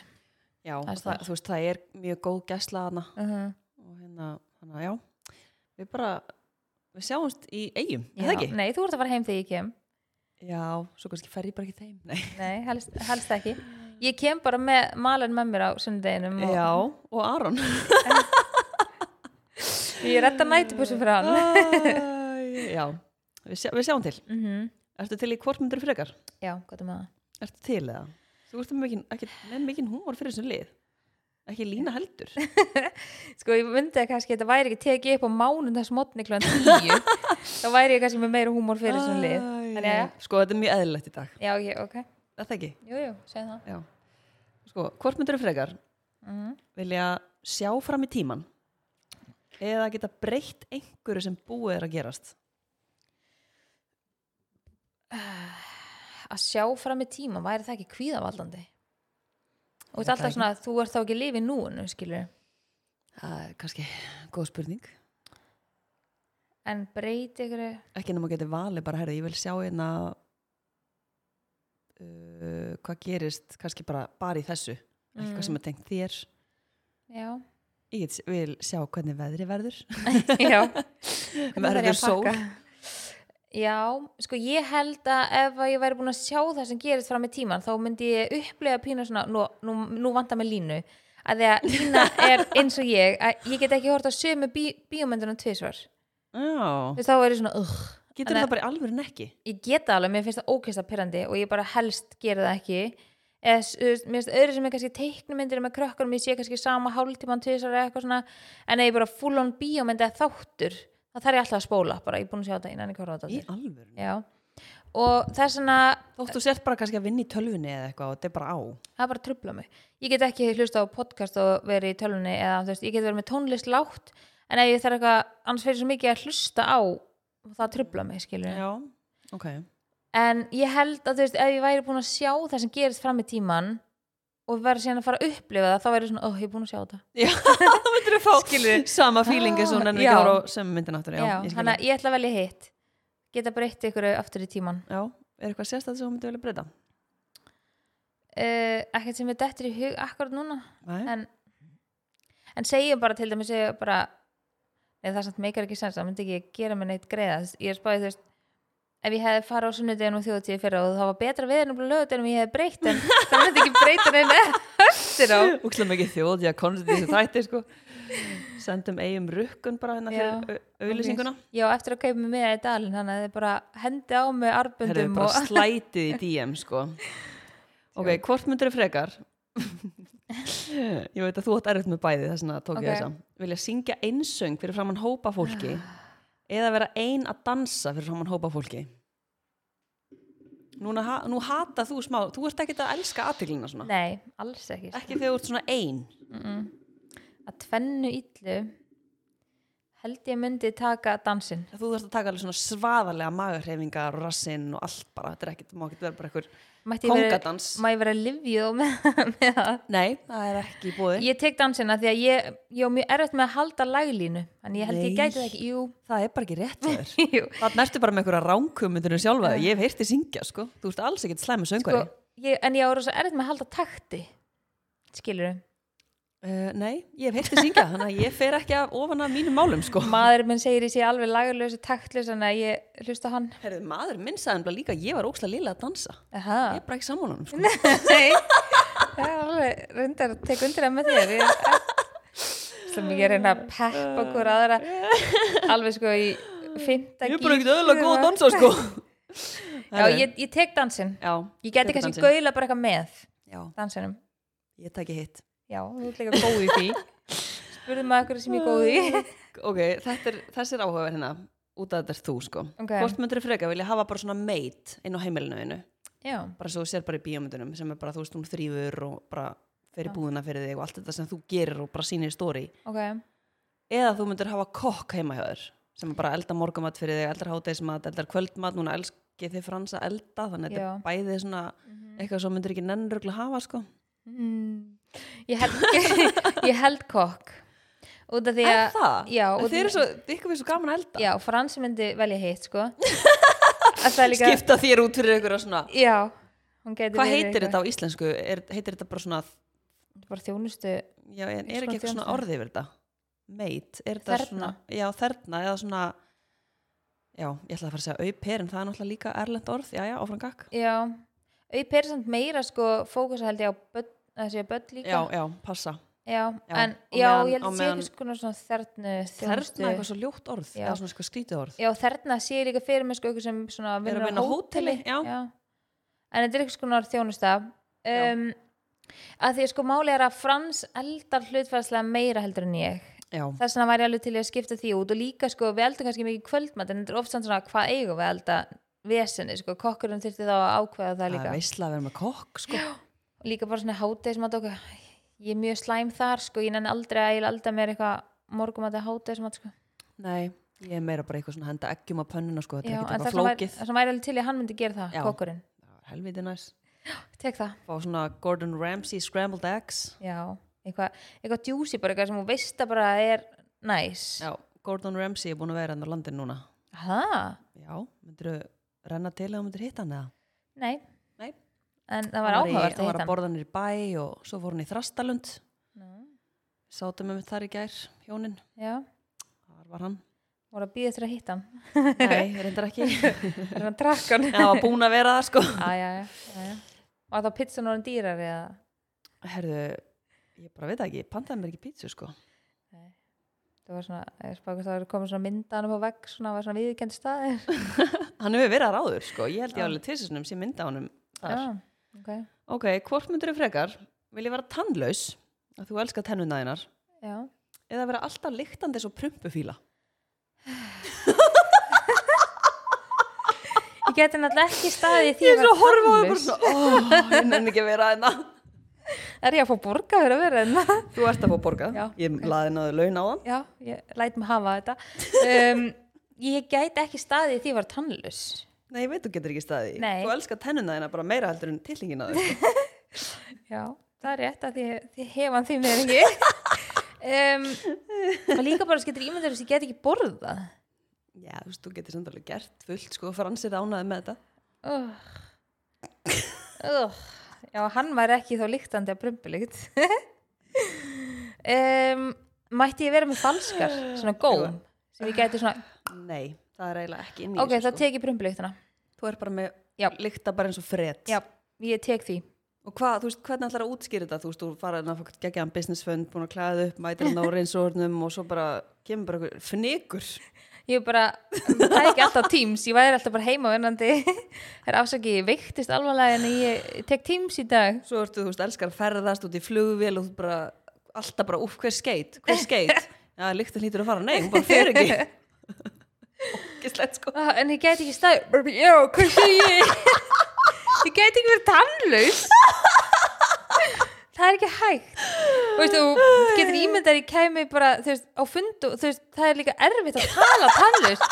já, Það er það, það, það. þú veist það er mjög góð gæsla hana uh og hérna, hana, já við bara, við sjáumst í eigum, er það ekki? nei, þú ert að fara heim þegar ég kem Já, svo kannski fer ég bara ekki þeim Nei. Nei, helst, helst ekki. Ég kem bara með malin með mér á sundeginum og Já, og Aron ég retta nætupusum fyrir hann. Ah. Æ, Já, við, sjá, við sjáum til Mm Ertu til í hvort myndir frekar? Já, gott um það. Ertu til eða? Þú ert með mikinn- ekki með mikinn húmor fyrir þessum lið ekki lína heldur Sko, ég myndi að kannski þetta væri ekki tekið upp á mánum þess mótni kl. 10. þá væri ég kannski með meira húmór fyrir þessum lið. En já, já. Sko, þetta er mjög eðlilegt í dag. Já, ég, ok. Er það ekki? Jú, jú, segð það. Já. Sko, hvort myndur frekar Mm vilja sjá fram í tíman eða geta breytt einhverju sem búið er að gerast? Að sjá fram í tíma, væri það ekki kvíðavaldandi? Ég Og þetta er veit það alltaf ekki. svona, þú ert þá ekki lifið núinu, skilur. Það er kannski góð spurning. En breyti ykkur, Ekki nema að geta valið bara, herri, ég vil sjá hérna uh, hvað gerist kannski bara, bara í þessu. Eitthvað Mm. sem er tengt þér. já. Ég get, vil sjá hvernig veðri verður. já, Verður þarf ég að sól? pakka? Já, sko ég held að ef að ég væri búin að sjá það sem gerist fram í tíman þá myndi ég upplega pínu svona nú, nú, nú vantar mig línu að því að lína er eins og ég að ég get ekki hort á sömu bí, bíómyndunum tvisvar Já. Þú veist, þá er ég svona uh, Getur Þannig- það bara í alvöru ekki? ég geta alveg, mér finnst það ókvæmsta pyrrandi og ég bara helst gera það ekki eða, s- þú veist, mér finnst öðru sem er kannski teiknumyndir með krökkunum, ég sé kannski sama hálftíman tvisar eða eitthvað svona, en ef ég bara full on bíómynd eða þáttur þá þarf ég alltaf að spóla, bara ég er búin að sjá þetta innan ég horfa á þetta Í aftur. alvöru? Já. og það er svona Þótt þú sért bara kannski að vinna í tölvunni eða eitthvað og þetta er bara á. það bara trubla mig ég get ekki hlusta á podcast og verið í tölunni eða þú veist, ég get verið með tónlist lágt en ef ég þarf eitthvað, annars fyrir svo mikið að hlusta á það trubla mig, skilur Já. Ok. en ég held að þú veist ef ég væri búin að sjá það sem gerist fram í tíman og verið síðan að fara að upplifa það þá væri ég svona, ó, ég er búin að sjá þetta Já, það myndir að fá Skilurðu? sama fílingi sem hún Ah, ennur já. ekki voru á sömu myndin áttur. Já, já, ég skil þannig það. að ég ætla að velja hitt geta breytt ykkur aftur í tíman Já, er eitthvað sérstætt sem hún myndi velja breyta? uh, ekkert sem við dettur í hug akkurat núna Nei. en, en segjum bara til dæmis segjum bara nei, það samt meikar ekki sens, það myndi ekki gera mér neitt greiða Þess- ég er spáðið þú veist ef ég hefði farið á sunnudeginu og þjóðtíði fyrra og það var betra viðin og lögudeginum ég hefði breytt en það myndi ekki breyta neina eftir á Úkslega mikið þjóð, já, konstið þessi þætti, sko. Sendum eigum rukkun bara hérna Já. fyrir auðlýsinguna. Já, eftir að kaupa mig með í dalinn þannig að þið bara hendi á mig Það er arbundum bara og slætið í DM, sko. Ok, hvort myndir frekar? ég veit að þú átt erfitt með bæði þess vegna tók Ok. ég þess að vilja syngja einsöng fyrir framann hópa fólki eða vera ein að dansa fyrir framann hópa fólki Núna, ha- nú hata þú smá þú ert ekkert að elska aðtíklina svona Nei, alls ekki ekki þegar þú ert svona ein Að tvennu illu held ég myndi taka dansinn þú þarfst að taka alveg svona svaðalega magahreyfingar og rassinn og allt bara þetta er ekkert, má ekkert vera bara einhver Mætti ég vera, kongadans má ég vera livju með, með það Nei, það er ekki í bóði Ég tek dansinn að því að ég, ég á mjög erfitt með að halda laglínu en ég held ég Nei. gæti það ekki, jú, það er bara ekki rétt hjá þér jú. Þannig ertu bara með einhverja ránkumundinu sjálfa Ég hef heyrti syngja, sko Þú ert alls ekkert slæmi söngari Sko, ég, En ég á rosa erfitt með að halda takti Skilur uh, Nei, ég hef heyrti syngja Þannig að ég fer ekki af ofan að mínum málum, sko Maður minn segir ég sé alveg laglösa taktlis en að ég hlusta á hann Herðu, maður minn sagði nefnilega líka að Ég var ókslega lila að dansa Aha. Ég er bara ekki sammálanum, sko Nei, það er alveg reyndar að teka undir það með þér ég, sem ég er reyna að peppa okkur aðra alveg sko í fymta Ég er bara ekkert öðlega góð að dansa, sko Já, ég, ég tek dansinn Já, Ég geti tekur kannski dansinn. gaula bara eitthvað með Já, dansinum ég taki hitt Já, þú ert líka góð í því Spurðum maður eitthvað sem ég er góð í Ok, þetta er, þessi er áhugaverð hérna Út að þetta er þú, sko Ok. Hvort myndir freka vilja hafa bara svona meit inn á heimilinu þínu? Já, bara svo þú sér bara í bíómyndunum sem er bara, þú veist, hún þrýfur og bara fer í búðuna fyrir þig og allt þetta sem þú gerir og bara sýnir í stóri ok eða þú myndir hafa kokk heima hjá þér sem er bara að elda morgumat fyrir þig, eldar hátæðismat eldar kvöldmat, núna elski þið frans að elda þannig að þetta Já. Mhm. er bæði svona eitthvað svo myndir ekki nennruglega hafa, sko mm. ég, held, ég held kokk Út af því að Er það? Já, En út af- Þið eru svo, ykkur við svo gaman að elda Já, Frans myndi velja hitt sko Að það er líka Skipta þér út fyrir ykkur og svona Já, hún geti Hvað heitir þetta á íslensku? Er, heitir þetta bara svona Bara þjónustu Já, en er Eins ekki konar eitthvað svona þjónusta. orðið yfir þetta? Meit, er þetta Þerna. svona Já, þerna, eða svona Já, ég ætla að fara að segja auper en það er náttúrulega líka erlend orð, já, já, áfram gakk Já, auðvitað er samt meira sko fókusa held ég á börn, þessi börn líka Já, já, passa já, Já, en á já, meðan- ég held á að sé meðan- ekki sko svona þernu þjónustu Þerna er eitthvað svo ljótt orð, Já. eða svona eitthvað skrítið orð Já, þerna sé ég líka fyrir mig sko ykkur sem svona að vinnur á vinna á hóteli, já. En þetta er eitthvað svona þjónusta um, að því sko máli er að Frans eldar hlutfærslega meira heldur en ég Já, þess vegna væri alveg til í að skipta því út og líka sko við eldum kannski mikið kvöldmat en þetta er oft samt svona hvað eigum við að elda vesenni sko, kokkurinn þurfti þá að ákveða það það líka er veisla að vera með kokk, sko og líka bara svona hátegismat og eitthvað, ég er mjög slæm þar sko, ég nenni aldrei að ég elda mér eitthvað morgumat eða hátegismat sko Nei, ég er meira bara eitthvað svona að henda eggjum á pönnuna, sko, þetta er Já, en ekkert það eitthvað sem væri, flókið það sem væri alveg til í að hann myndi gera það, Já. kokkurinn Já, Helviti næs tek það, Fá svona Gordon Ramsay scrambled eggs já, eitthvað eitthvað djúsi bara eitthvað sem hún veist að bara er næs, Já, Gordon Ramsay er búin að vera hann á landin núna það, Já, myndirðu renna til eða myndir hitta hann eða? nei Nei. en það var Hann í- áhugavert hann að var hitta að borða hann í bæ og svo fór hann í Þrastalund hann sátum við þar í gær, hjónin já, þar var hann, voru að býða eftir að hitta hann nei, reyndar ekki er hann drakkan já, það var búin að vera það sko já, já, já, já. og þá pizzan orðin dýrar eða herðu, ég bara veit það ekki, ég pantaði mér ekki pítsu sko það var svona, ég spáði að það var komið svona myndanum á vegg svona, var svona viðkend staðir hann hefur verið að ráður sko, ég held ég alveg tilsinum sem mynda honum þar já, ok, ok, hvort myndur þau frekar, vil ég vera tannlaus að þú elskar tennuna þínar já eða vera alltaf lyktandi svo prumpufíla ég geti náttúrulega ekki staði því ég er svo að horfa á þau tannlaus. bara svona, ó, ég nenni ekki að vera hérna er ég að fá borga fyrir að vera hérna? enna þú ert að fá borga, Já, ég okay. laði náðu laun á þann já, ég læt mig hafa þetta um, ég gæti ekki staði því að ég var tannlaus nei, ég veit þú getur ekki staði, Nei. þú elskar tennuna þína bara meira heldur en tillingina þau sko. já, það er rétt að því, því hefa hann því með ekki um, og líka bara skettir ímyndir þess að ég get ekki borða já, þú veist, þú getur samt alveg gert fullt sko, fransir ánaði með þetta uh. Uh. já, hann væri ekki þá líktandi að brumbulikt um, mætti ég vera með falskar svona góm sem ég gæti svona, nei, það er eiginlega ekki inn í ok, þessu, það tek ég brumbuliktuna sko. þú er bara með Já. lykta bara eins og fret já, ég tek því Og hvað, þú veist, hvernig ætlar að útskýra þetta? Þú veist, þú farað að gegja hann business fund, búin að klæða þig upp, mætir hann á reynsórnum og svo bara kemur bara einhver fnikur. Ég bara, það er ekki alltaf Teams, ég væri alltaf bara heima vinnandi. Það er afsaki, ég veiktist alvarlega en ég ég tek Teams í dag. Svo ertu, þú veist, elskar að ferðast út í flugvél og þú bara, alltaf bara, úf, hver skeit? Hver skeit? Já, líktin hlýtur að fara. Nei, hún bara fer ekki. Ógislegt, sko. Ah, En ég gæti ekki stað, bara, já, hvað sé ég? Ég gæti ekki verið tannlaus. Það er ekki hægt. Þú veist, þú getur ímyndar, ég kemi bara, þú veist, á fundu, þú veist, það er líka erfitt að tala tannlaus.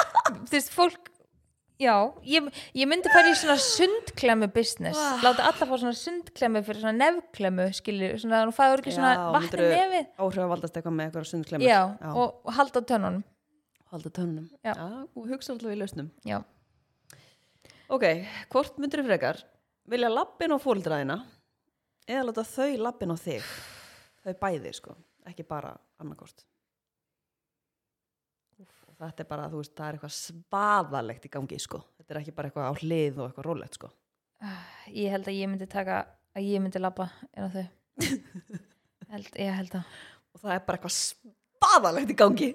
Þú veist, fólk, já, ég, ég myndi fara í svona sundklemmu business. Láta alla fá svona sundklemmu fyrir svona nefklemmu, skilur, svona, þú fæður ekki svona vatn í nefið. Áhrifavaldast eitthvað með eitthvað sundklemur. já, og, og halda á tönnunum Halda tönunum. Já. og hugsa alltaf í lausnum. já, Ok, hvort myndur frekar? Vilja lappin á fóldræðina eða láta þau lappin á þig? Þau bæði, sko, ekki bara annarkort. Og Þetta er bara, þú veist, það er eitthvað svaðalegt í gangi, sko. Þetta er ekki bara eitthvað á hlið og eitthvað rólegt, sko. ég held að ég myndi taka að ég myndi labba inn á þau held, ég held að Og það er bara eitthvað svaðalegt í gangi.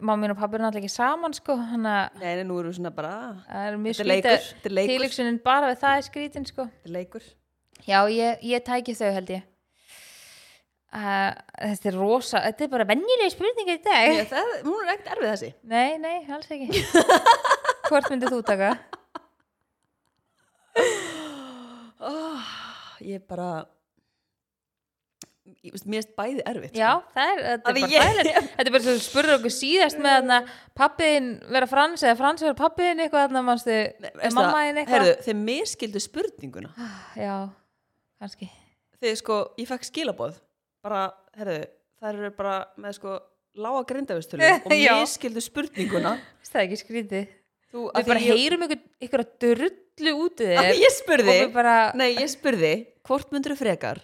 mamma mín og pabbi er náttúrulega ekki saman sko hann að Nei, nei, nú erum við svona bara, ah, það er mjög Þetta er leikur, skrítið þetta er leikur. tilíksunin bara við það er skrítin sko þetta er leikur. já, ég, ég tæki þau held ég uh, þetta er rosa þetta er bara venjulega spurninga í dag Ég, það, hún er ekkert erfið þessi. nei, nei, alls ekki hvort myndið þú taka? Oh, ég bara, ég veist, mér er bæði erfitt, sko. Já, það er, Að þetta er bara ég- þægilegt Þetta er bara svo spurður okkur síðast með þarna pappiðin vera frans eða frans vera pappiðin eitthvað þarna mannstu Veistu mamma það, þín eitthvað heyrðu, þeir miskildu spurninguna Já, kannski þegar sko, ég fekk skilaboð bara, herðu, þær eru bara með sko, lága grindafistölu og Já. miskildu spurninguna Veist það ekki skrítið þú, af Við því bara heyrum ykkur, ykkur að drullu út í ég, af þér því ég spurði, og við bara, nei, ég spurði hvort myndur þú frekar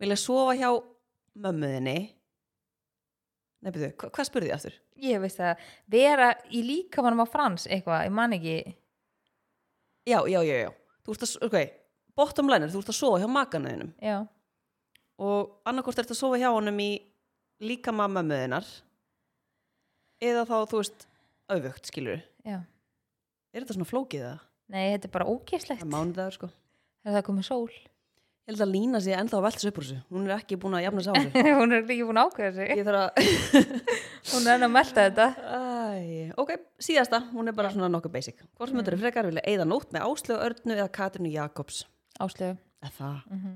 vilja sofa hjá mömmuðinni nei, byrju, hva, hvað spurði ég aftur? ég veist það vera í líkamannum á frans eitthvað, ég man ekki já, já, já, já, þú ert að, s- ok bottom line er, þú ert að sofa hjá makanuðinum Já, og annarkort ertu að sofa hjá honum í líka mamma möðunar eða þá, þú veist, auðvögt, skilur já er þetta svona flókið það? Nei, þetta er bara ógeðslegt Það er mánudagur, sko Það er komið sól Ég held að Lína sé ennþá að velta sig upp úr þessu hún er ekki búin að jafna sig á þessu Hún er ekki búin að ákveða sig Ég þarf að, Hún er enn að melta þetta Æ, ok, síðasta hún er bara svona nokkuð basic Hvort myndur er frekar vilja eigða nótt með Áslögu Örnu eða Katrinu Jakobs Áslegu Eða það,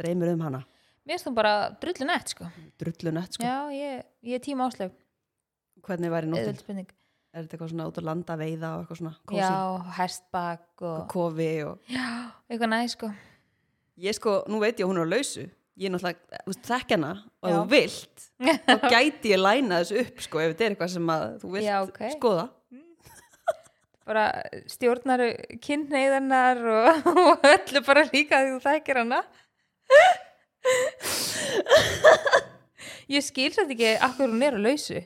dreymir um hana mhm. Mér finnst hún bara drullu nett sko Drullunett, sko, Já, ég, ég er tíma áslöf hvernig væri nóttin? Eðvöld spurning Er þetta eitthvað svona út að landa veiða og eitthvað svona kósi, Já, hestbak og kofi og Já, eitthvað næ sko ég sko, nú veit ég að hún er á lausu ég er náttúrulega, þú veist, þekk hana og ef Já. þú vilt, þá gæti ég læna þessu upp sko, ef þetta er eitthvað sem að þú vilt Já, ok. skoða Bara stjórnaru kynneiðarnar og, og öllu bara líka því þú þekkir hana ég skil satt ekki akkur hún er á lausu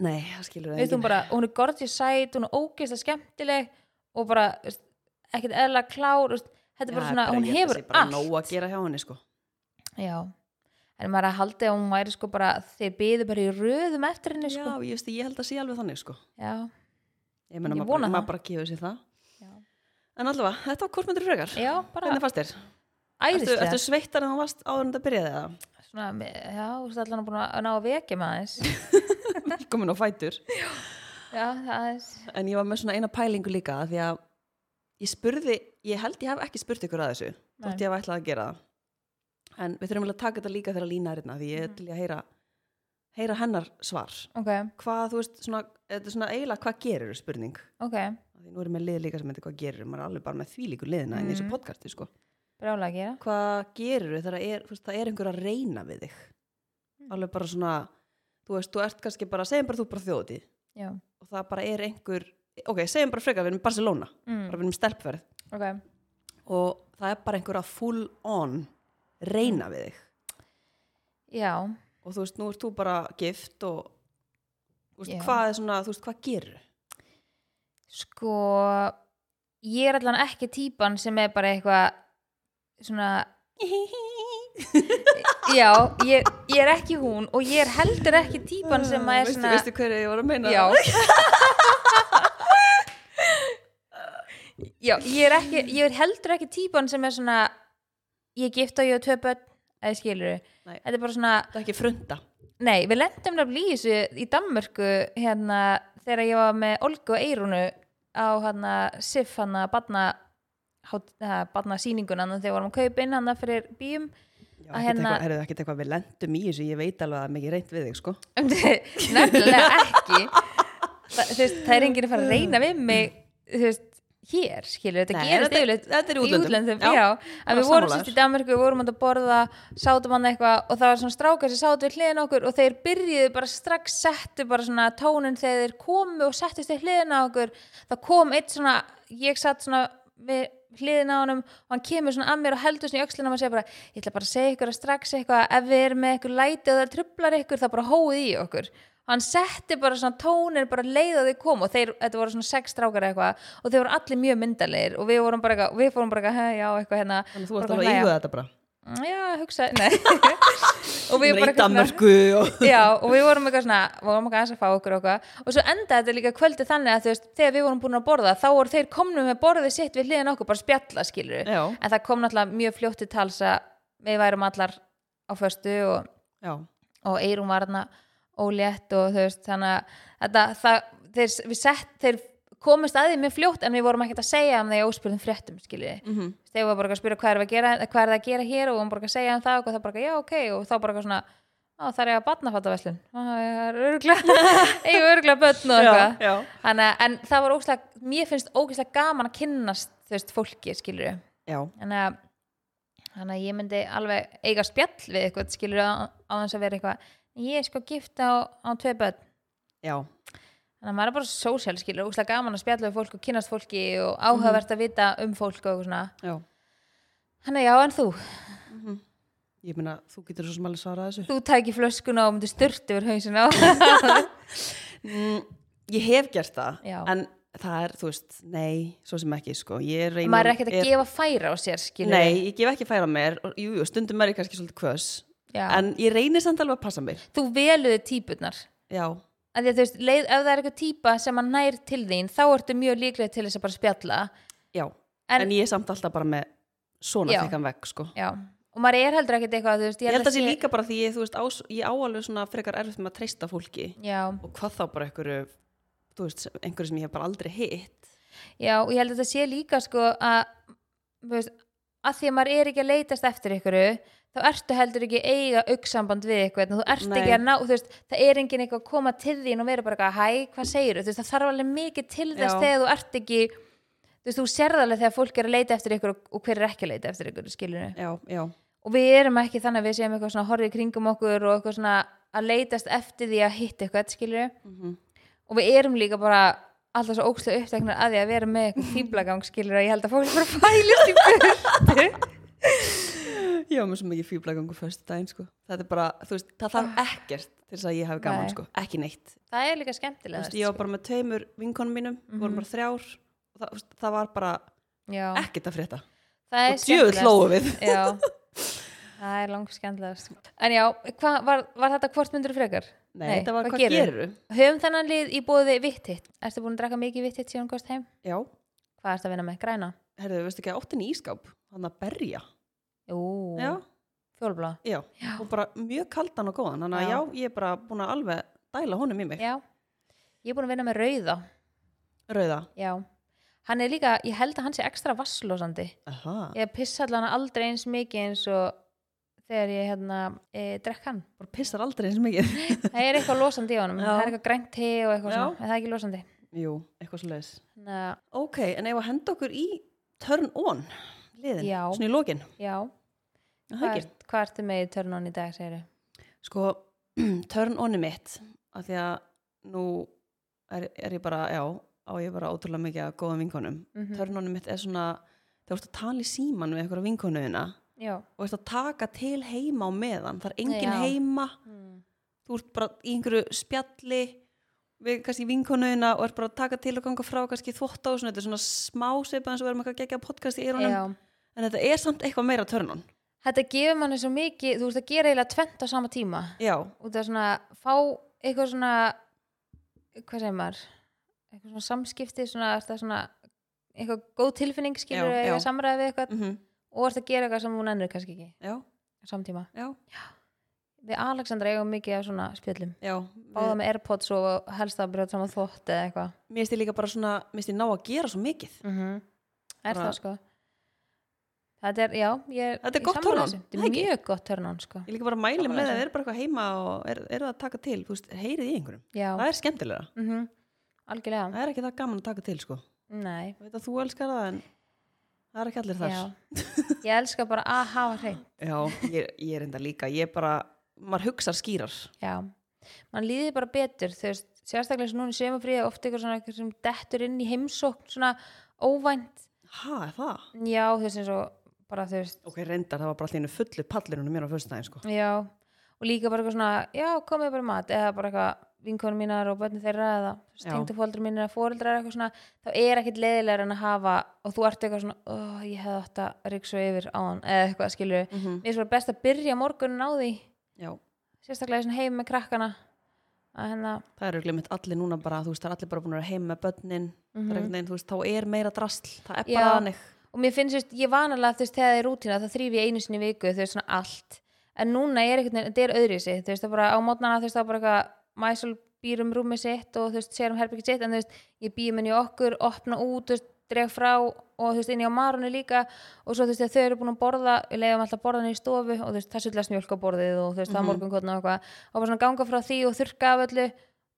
Nei, það skilur það Veist, hún, enginn. bara, hún er gorgeous sæt, hún er ógeist skemmtileg og bara veist, ekkert eðla klár veist, þetta er bara Já, svona, hún ég held að hefur sé bara allt nóg að gera hjá henni sko já, en maður er að haldi að hún væri sko bara, þeir byðu bara í röðum eftir henni Já, sko ég, veist, ég held að sé alveg þannig sko já, Ég meina, Ég maður bara, vona það. maður bara gefur sér það já. En allavega, þetta var kortmyndur frekar já bara Hvernig fannst þér? Ertu, æðislega ertu sveittar en þú varst áður en þetta byrjaði eða? svona, me- já, þú veist allan að búin að ná að vekja maður aðeins komin á fætur já, aðeins, en ég var með svona eina pælingu líka af því að ég spurði, ég held ég hef ekki spurt ykkur að þessu þótt Nei. ég hef ætlað að gera það en við þurfum alveg að taka þetta líka þegar að lína hérna því Mm. ég er til í að heyra, heyra hennar svar ok, hvað, þú veist, svona, þetta er svona eiginlega hvað gerir spurning, ok af því nú erum við lið líka sem heitir hvað gerir, maður er alveg bara með því líku liðina en í þessu Mhm. podcasti, sko brjála að gera hvað gerir þegar það er, þú veist, það er einhver að reyna við þig Mm. alveg bara svona, þú veist, þú ert kannski bara segjum bara þú ert bara þjóðið já, og það bara er einhver ok, segjum bara frekar, við erum í Barcelona bara mm. við erum í stelpverð ok, og það er bara einhver að full on reyna við þig já og þú veist, nú ert þú bara gift og þú veist, Já. hvað er svona, þú veist, hvað gerir sko ég er allan ekki típan sem er bara eitthvað svona já, ég, ég er ekki hún og ég er heldur ekki típan sem að er Ah, veistu, svona veistu hverju ég var að Hérna. meina já já, ég er ekki ég er heldur ekki típan sem er svona ég er gift og ég er tvö börn eða skilur Nei. þetta er bara svona það er ekki frunda Nei, við lendum nefnilega í þessu í Danmörku hérna þegar ég var með Olgu og Eirunu á hérna SIF hérna barna barna sýninguna þegar við vorum að kaupa inn hérna fyrir bíum Já, Að ekkert hérna- eitthvað, heyrðu, ekkert eitthvað við lendum í þessu, ég veit alveg að það er mikið reynt við þig, sko. Um nefnilega ekki Þa, þú veist, það er enginn að fara að reyna við mig þú veist, hér, skilur þetta Nei, gerist þetta- yfirleitt þetta er í í útlöndum. útlöndum Já, já, bara að við vorum sammálaður. sérst í Danmörku, við vorum að borða sátum hann eitthvað og það var svona strákar sem sátu við hliðin á okkur og þeir byrjuðu bara strax settu bara svona tónin þegar þeir komu og settust við hliðin á okkur það kom eitt svona, ég satt svona við hliðin á honum og hann kemur svona að mér og heldur svona í öxlina og maður segir bara ég ætla bara að segja ykkur að strax eitthvað ef við erum með eitthvað læti og það trublar ykkur það bara hóið í okkur hann setti bara svona tónir bara leið að þau kom og þeir, þetta voru svona sex strákar eða eitthvað og þeir voru allir mjög myndalegir og við vorum bara eitthvað, og við fórum bara eitthvað, "Hæ, já, eitthvað hérna Þannig að þú ert bara alveg að hlæja. íhuga þetta bara. já, hugsa, nei og við Ég meina, bara í eitthvað svona- Danmörku og... já, og við vorum eitthvað svona vorum eitthvað aðeins að fá okkur og eitthvað og svo endaði þetta líka kvöldi þannig að þú veist þegar við vorum búin að borða þá voru þeir komnum með borðið sitt við hliðin á okkur, bara spjalla skilur Já, en það kom náttúrulega mjög fljótt til tals að við værum allar á föstu og, já. og Eirún var þarna ólétt og þú veist þannig að þetta, það, þeir, við sett þeir komist að því mjög fljótt en við vorum ekkert að segja um það í óspurðum fréttum skilur Mm -hmm. þegar var bara eitthvað að spyrja hvað er, að gera, hvað er það að gera hér og hún bara eitthvað að segja um það og það bara eitthvað, já ok og þá bara eitthvað svona á, það er ég að batnafattaveslun það er örgulega ég er örgulega börn og eitthvað já. Þannig, að- en það var ógislega, mér finnst ógislega gaman að kynnast þú veist fólki skilur við Já, þannig að, þannig að ég myndi alveg eiga spjall við eitthvað skilur á, á þess að vera eitthvað ég er sko gift á, á tvei börn já. þannig að maður er bara sósjál skilur ógislega gaman að spjalla við fólk og kynnast fólki og áhugavert að vita um fólk og eitthvað svona já. Þannig að já, en þú, Ég meina, þú getur svo sem alveg svarað þessu. þú tæki flöskuna og myndi styrt yfir hausina á. Mm, ég hef gert það, Já. en það er, þú veist, nei, svo sem ekki, sko. Ég reynum, maður er ekkert að gefa færa á sér, skilur. Nei, ég gef ekki færa mér, og, jú, jú, stundum er ég kannski svolítið kvöss, Já. en ég reynir samt alveg að passa mér. Þú veluðu típurnar. Já, Af Því að þú veist, leið, ef það er eitthvað típa sem að nær til þín, þá ertu mjög líklega til þess að bara spjalla. já, en, En- ég er samt alltaf bara með svona Já. þekkan vekk, sko. Já. Og maður er heldur ekkert eitthvað, þú veist, Ég held að það sé líka bara því ég, þú veist, á, ég áalveg svona frekar erfitt með að treysta fólki Já, og hvað þá bara einhverju, þú veist, einhverju sem ég hef bara aldrei hitt. já, og ég held að það sé líka, sko, að, þú veist, að því að maður er ekki að leitast eftir ykkuru, þá ertu heldur ekki að eiga auksamband við eitthvað, þú ert Nei. ekki að ná, þú veist, það er enginn eitthvað að koma til þín og vera bara eitthvað, hæ, hvað segir þú, veist, það þarf alveg mikið til þess Já. þegar þú ert ekki, þú veist, þú sérð alveg þegar fólk er að leita eftir ykkur og, og hver er ekki að leita eftir ykkur, skilurðu. Já, já, Og við erum ekki þannig að við séum eitthvað svona horfið í kringum okkur og eitthvað svona að leitast eftir því að hitta eitthvað, skilurðu. mhm. Og við erum líka bara alltaf svo ókslega uppteknar að því að vera með eitthvað fýblagang, skilurðu, að ég held að fólk bara fælist í burtu. ég var með svo mikið fýblagangu fyrstu daginn sko. það er bara, þú veist, það þarf ekkert til þess að ég hafi gaman, Ah. Nei. sko, ekki neitt það er líka Þú veist, skemmtilegast ég var bara með tveimur vinkonum mínum mm vorum bara þrjár og það, þú veist, það var bara sko. Mhm. Já, ekkert að frétta það er og djöfull hlóðu við Já, það er langt skemmtilegast En já, hva, var, var þetta hvort myndur frekar? nei, þetta var, hvað, hvað gerirðu? gerirðu? Höfum þennan lið í bóði vittitt Ertu búin að drakka mikið vittitt síðan góðst heim? já, Hvað ertu að vinna með? Græna? herðu, veistu ekki, óttin í ískáp hann að berja, Jú, já, fjólblá já og bara mjög kaldan og góðan þannig að Já. já, ég er bara búin að alveg dæla honum í mig, Já, ég er búin að vinna með rauða rauða Já, hann er líka, ég held að hann sé ekstra vasslósandi Aha. Ég pissa allan aldrei eins mikið eins og þegar ég hérna e, drekk hann bara pissar aldrei eins mikið Það er eitthvað losandi í honum, Já. það er eitthvað grænt te og eitthvað Já. svona, en það er ekki losandi jú, eitthvað svo leiðis Þannig að ok, en ef að henda okkur í turn on liðin, Já. svona í lokin Já, Er það hvað, ekki? ert- hvað ertu með í törnun í dag, segir sko, turn on er mitt af því að nú er, er ég bara, já á ég bara ótrúlega mikið að góða vinkonum Mhm. turn on er mitt er svona þegar þú ert að tala í síman við einhverja vinkonuðina Já, og ert að taka til heima á meðan það er engin Já. heima þú ert bara í einhverju spjalli við kannski vinkonuðina og ert bara að taka til og ganga frá kannski þvótt á svona, þetta er svona smá svipað eins og við erum eitthvað að gegja podcast í eyrunum já en þetta er samt eitthvað meira turn on Þetta gefur manni svo mikið, þú veist að gera eiginlega tvent á sama tíma já, út af svona fá eitthvað svona hvað segir maður eitthvað svona samskipti, svona, ertu að svona eitthvað góð tilfinning skilur Já, já. eða samræði við eitthvað mm og ert að gera eitthvað sem hún ennur kannski ekki já, á sama tíma. já, Við Alexandra eigum mikið af svona spjöllum já báða með Airpods og helst að brjóta saman þvott eða eitthvað mér finnst ég líka bara svona, mér finnst ég ná að gera svo mikið mm er Bara- það sko þetta er, já ég, Þetta er ég gott sammála turn on, þessu. það þetta er ekki? mjög gott törnón sko ég líka bara mæli Sammála með þessu. það, er bara eitthvað heima og er, eru það að taka til, þú veist, heyrið í einhverjum já, það er skemmtilega, mm algjörlega, það er ekki það gaman að taka til sko, nei ég veit að þú elskar það en það er ekki allir þar já. ég elska bara að hafa hrein já ég, ég er enda líka, ég bara maður hugsar skýrar já, mann líði bara betur þú veist, sérstaklega sem núna sem að fríða oft eitthvað svona eitthvað sem dettur inn í heimsókn svona óvænt ha, er það? já, þú veist eins og bara þú veist ok, reyndar, það var bara allir einu fullu pallirunum mér á fyrstæðin sko já, og líka bara eitthvað svona já, komið bara í mat, eða bara eitthvað vinkonum mínar og börnum þeirra eða Já. tengdufóldrar mínir eða fóreldrar eitthvað svona þá er ekkit leiðilegur en að hafa og þú ert eitthvað svona, oh, ég hefði átt að ríksu yfir á hann, eða eitthvað skilur mm. Mhm. mér finnst bara best að byrja morgunin á því já, sérstaklega í svona heim með krakkana að hérna, það eru glemt allir núna bara, þú veist, það er allir bara búin að vera heim með börnin mm -hmm. veginn, þú veist, þá er meira drasl það er bara Mhm. Já. þannig og mér finnst, þú veist, ég vanalega þú veist, þegar það er rútina, það þrýf ég einu sinni í viku þú veist, svona allt, en núna er einhvern veginn, þetta er öðru sitt, þú veist, það bara á mótnana þú veist, það bara eitthvað, mæsul býr um rúmi sitt og þú veist, sér um herbyggið sitt en þú veist, ég býr minni okkur, opna út þú veist, dreg frá og þú veist, inn í á marunni líka og svo þú veist, þegar þau eru búin að borða við leiðum alltaf borðan í stofu og þú veist, það sullast mjölk á borðið og þú veist, það mm morgun og eitthvað og bara svona ganga frá því og þurrka af öllu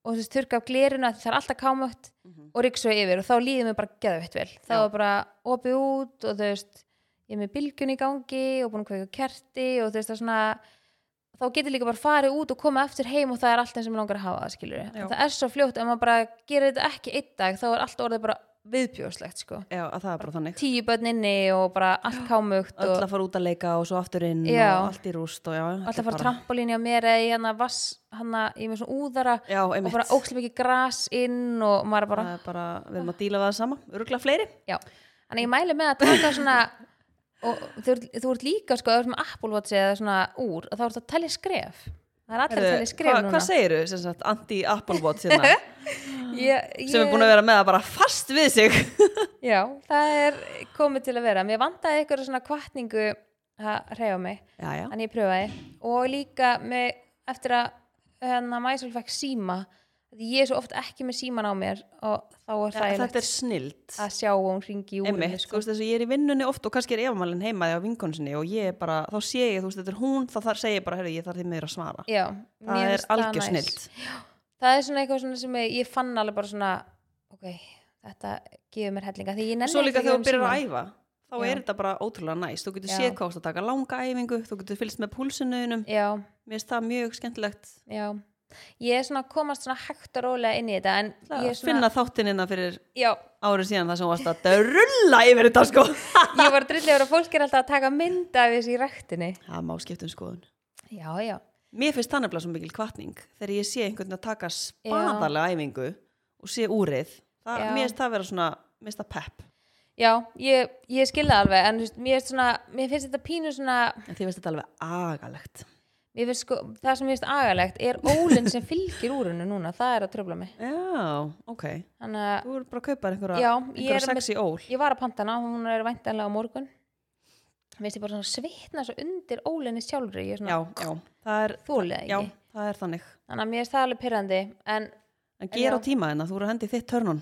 og þú veist, þurrka af gliruna, það er alltaf kámögt Mhm. og ríksu yfir og þá líður mér bara geðveitt vel þá Já. er bara opið út og þú veist ég er með bylgjun í gangi og búin að kveika kerti og þú veist það er svona þá getur líka bara farið út og koma eftir heim og það er allt eins sem mig langar að hafa það skilur Já. það er svo fljótt ef maður bara gerir þetta ekki einn dag þá er allt orðið bara viðbjóðslegt sko. já, að það er bara þannig tíu börn inni og bara allt kámugt öll og að fara út að leika og svo aftur inn Já. og allt í rúst og já, allt þetta er að fara bara- trampolíni á mér eða í hérna vass hana, ég er með svona úðara já, og einmitt, bara ókslega mikið gras inn og maður bara það er bara, við erum að díla við það sama örugla fleiri, Já, þannig að ég mæli með að taka svona og þú, ert- þú ert líka sko, ef þú ert með Apple Watch eða svona úr og þá ert að telja skref það er allir að telja skref hvað núna hva segiru sem sagt, anti-Apple Watch hérna, ég, ég, sem er búin að vera með það bara fast við sig Já, það er komið til að vera mér vandaði eitthvað svona kvartningu að reyfa mig, já, já, þannig ég pröfaði og líka með, eftir að hérna Mæsul fekk síma því ég er svo oft ekki með síman á mér og þá er það þetta er snild að sjá og hún ringi í sko. úr einmitt, þú veist þessu, ég er í vinnunni oft og kannski er efamælinn heima því á vinkonu sinni og ég er bara, þá sé ég, þú veist, þetta er hún þá þar segi ég bara, heyrðu, ég þarf því meður að svara Já, mér það er finnst algjör næs. snild það er svona eitthvað svona sem ég, ég fann alveg bara svona ok, þetta gefur mér hellinga því ég nenni svo líka ekki þegar þú um byrjar að símann. æfa þá Já. er þetta bara ótrúlega næst, þú getur Já. séð hvað þú ert að taka langa æfingu, þú getur fylgst með púlsunuðinum já, mér finnst það mjög skemmtilegt já ég er svona að komast svona hægt og rólega inn í þetta en Það ég að er svona finna þáttinina fyrir já, árið síðan það sem varst að drulla yfir þetta sko ég var drillið að fólk er alltaf að taka mynd af þessi í ræktinni það má skipta um skoðun já, já, mér finnst það nefnilega svo mikil kvartning þegar ég sé einhvern að taka spadalega æfingu og sé úrið það, Já. mér finnst það vera svona, mér finnst það pepp já ég, ég skilða alveg en þú veist, mér, finnst svona, mér finnst þetta pínu svona en því finnst þetta alveg agalegt mér finnst sko, það sem mér finnst agalegt er ólinn sem fylgir úrinu núna það er að tröfla mig já, ok, þannig að þú voru bara að kaupa þér einhverja, Já, ég einhverja er með- sexy ól ég var að panta hana, hún er væntanlega á morgun mér finnst ég bara svona svitna svo undir ólinni sjálfri ég er já, svona já, það er þúlega já, ekki það er þannig þannig að mér finnst það alveg pyrrandi en en gera Já. á tíma hennar, þú voru að hendi þitt törnun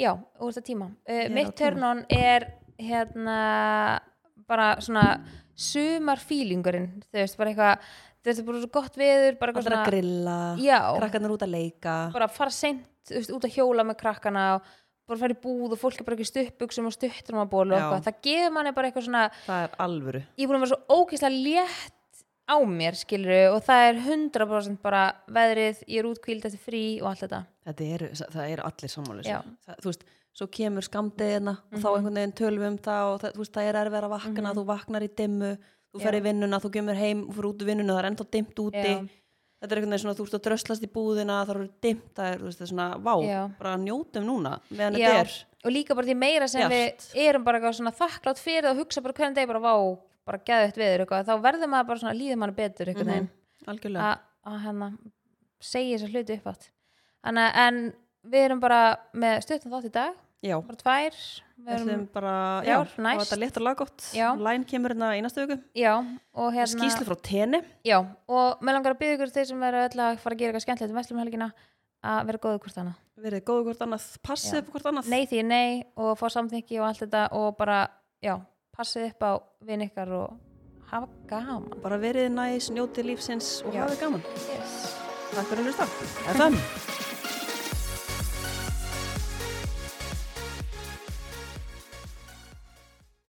já, úr þetta tíma uh, á mitt tíma. törnun er hérna bara svona sumarfílingurinn þú veist, bara eitthvað þetta er bara svo gott veður bara eitthvað allir að grilla, já, krakkarnar út að leika bara fara seint þú veist, út að hjóla með krakkana og bara fara í búð og fólk er bara ekki stuppbuksum og stuttur og Já. eitthvað, það gefur manni bara eitthvað svona það er alvöru ég er búin að vera svo ógeðslega létt á mér skilur og það er 100% bara veðrið, ég er útkvíld eftir frí og allt þetta Þetta eru, það eru allir sammáli Já. Mhm. þú veist, svo kemur skamdeðina og þá einhvern veginn tölum við um það og það, þú veist, það er erfið að vakna, þú vaknar í dimmu þú fer í vinnuna, þú kemur heim þú fyrir út í vinnuna, það er ennþá dimmt úti Já. þetta er einhvern veginn svona, þú ert að dröslast í búðina það eru dimmt, það er, þú veist, það er svona vá, Já. bara njótum núna meðan þetta er, og líka bara því meira sem Bjart. við erum bara eitthvað svona þakklátt fyrir það og hugsa bara hvernig deg bara vá, bara geðvægt veður eitthvað, þá verður maður bara svona líður mann betur einhvern Mhm, veginn algjörlega að- að hérna segja þessar hluti upp átt Þannig, að- en við erum bara með stuttan þátt í dag, já, bara tvær við við erum, ætlum bara, já, þrjár, og næst. þetta er létt og laggott Já. læn kemur hérna í næstu viku já, og hérna skýslu frá tenni, Já, og mér langar að byggja ykkur þeir sem eru öll að fara að gera eitthvað skemmtilegt um vestlum helgina að vera góðu hvort annað. verið góðu hvort annað passið upp á hvort annað Nei því er nei og fá samþykki og allt þetta og bara, já, passið upp á vinn ykkar og hafa gaman. bara verið næs, njótið lífsins og Já. hafið gaman Yes. Takk fyrir að hlusta. FM.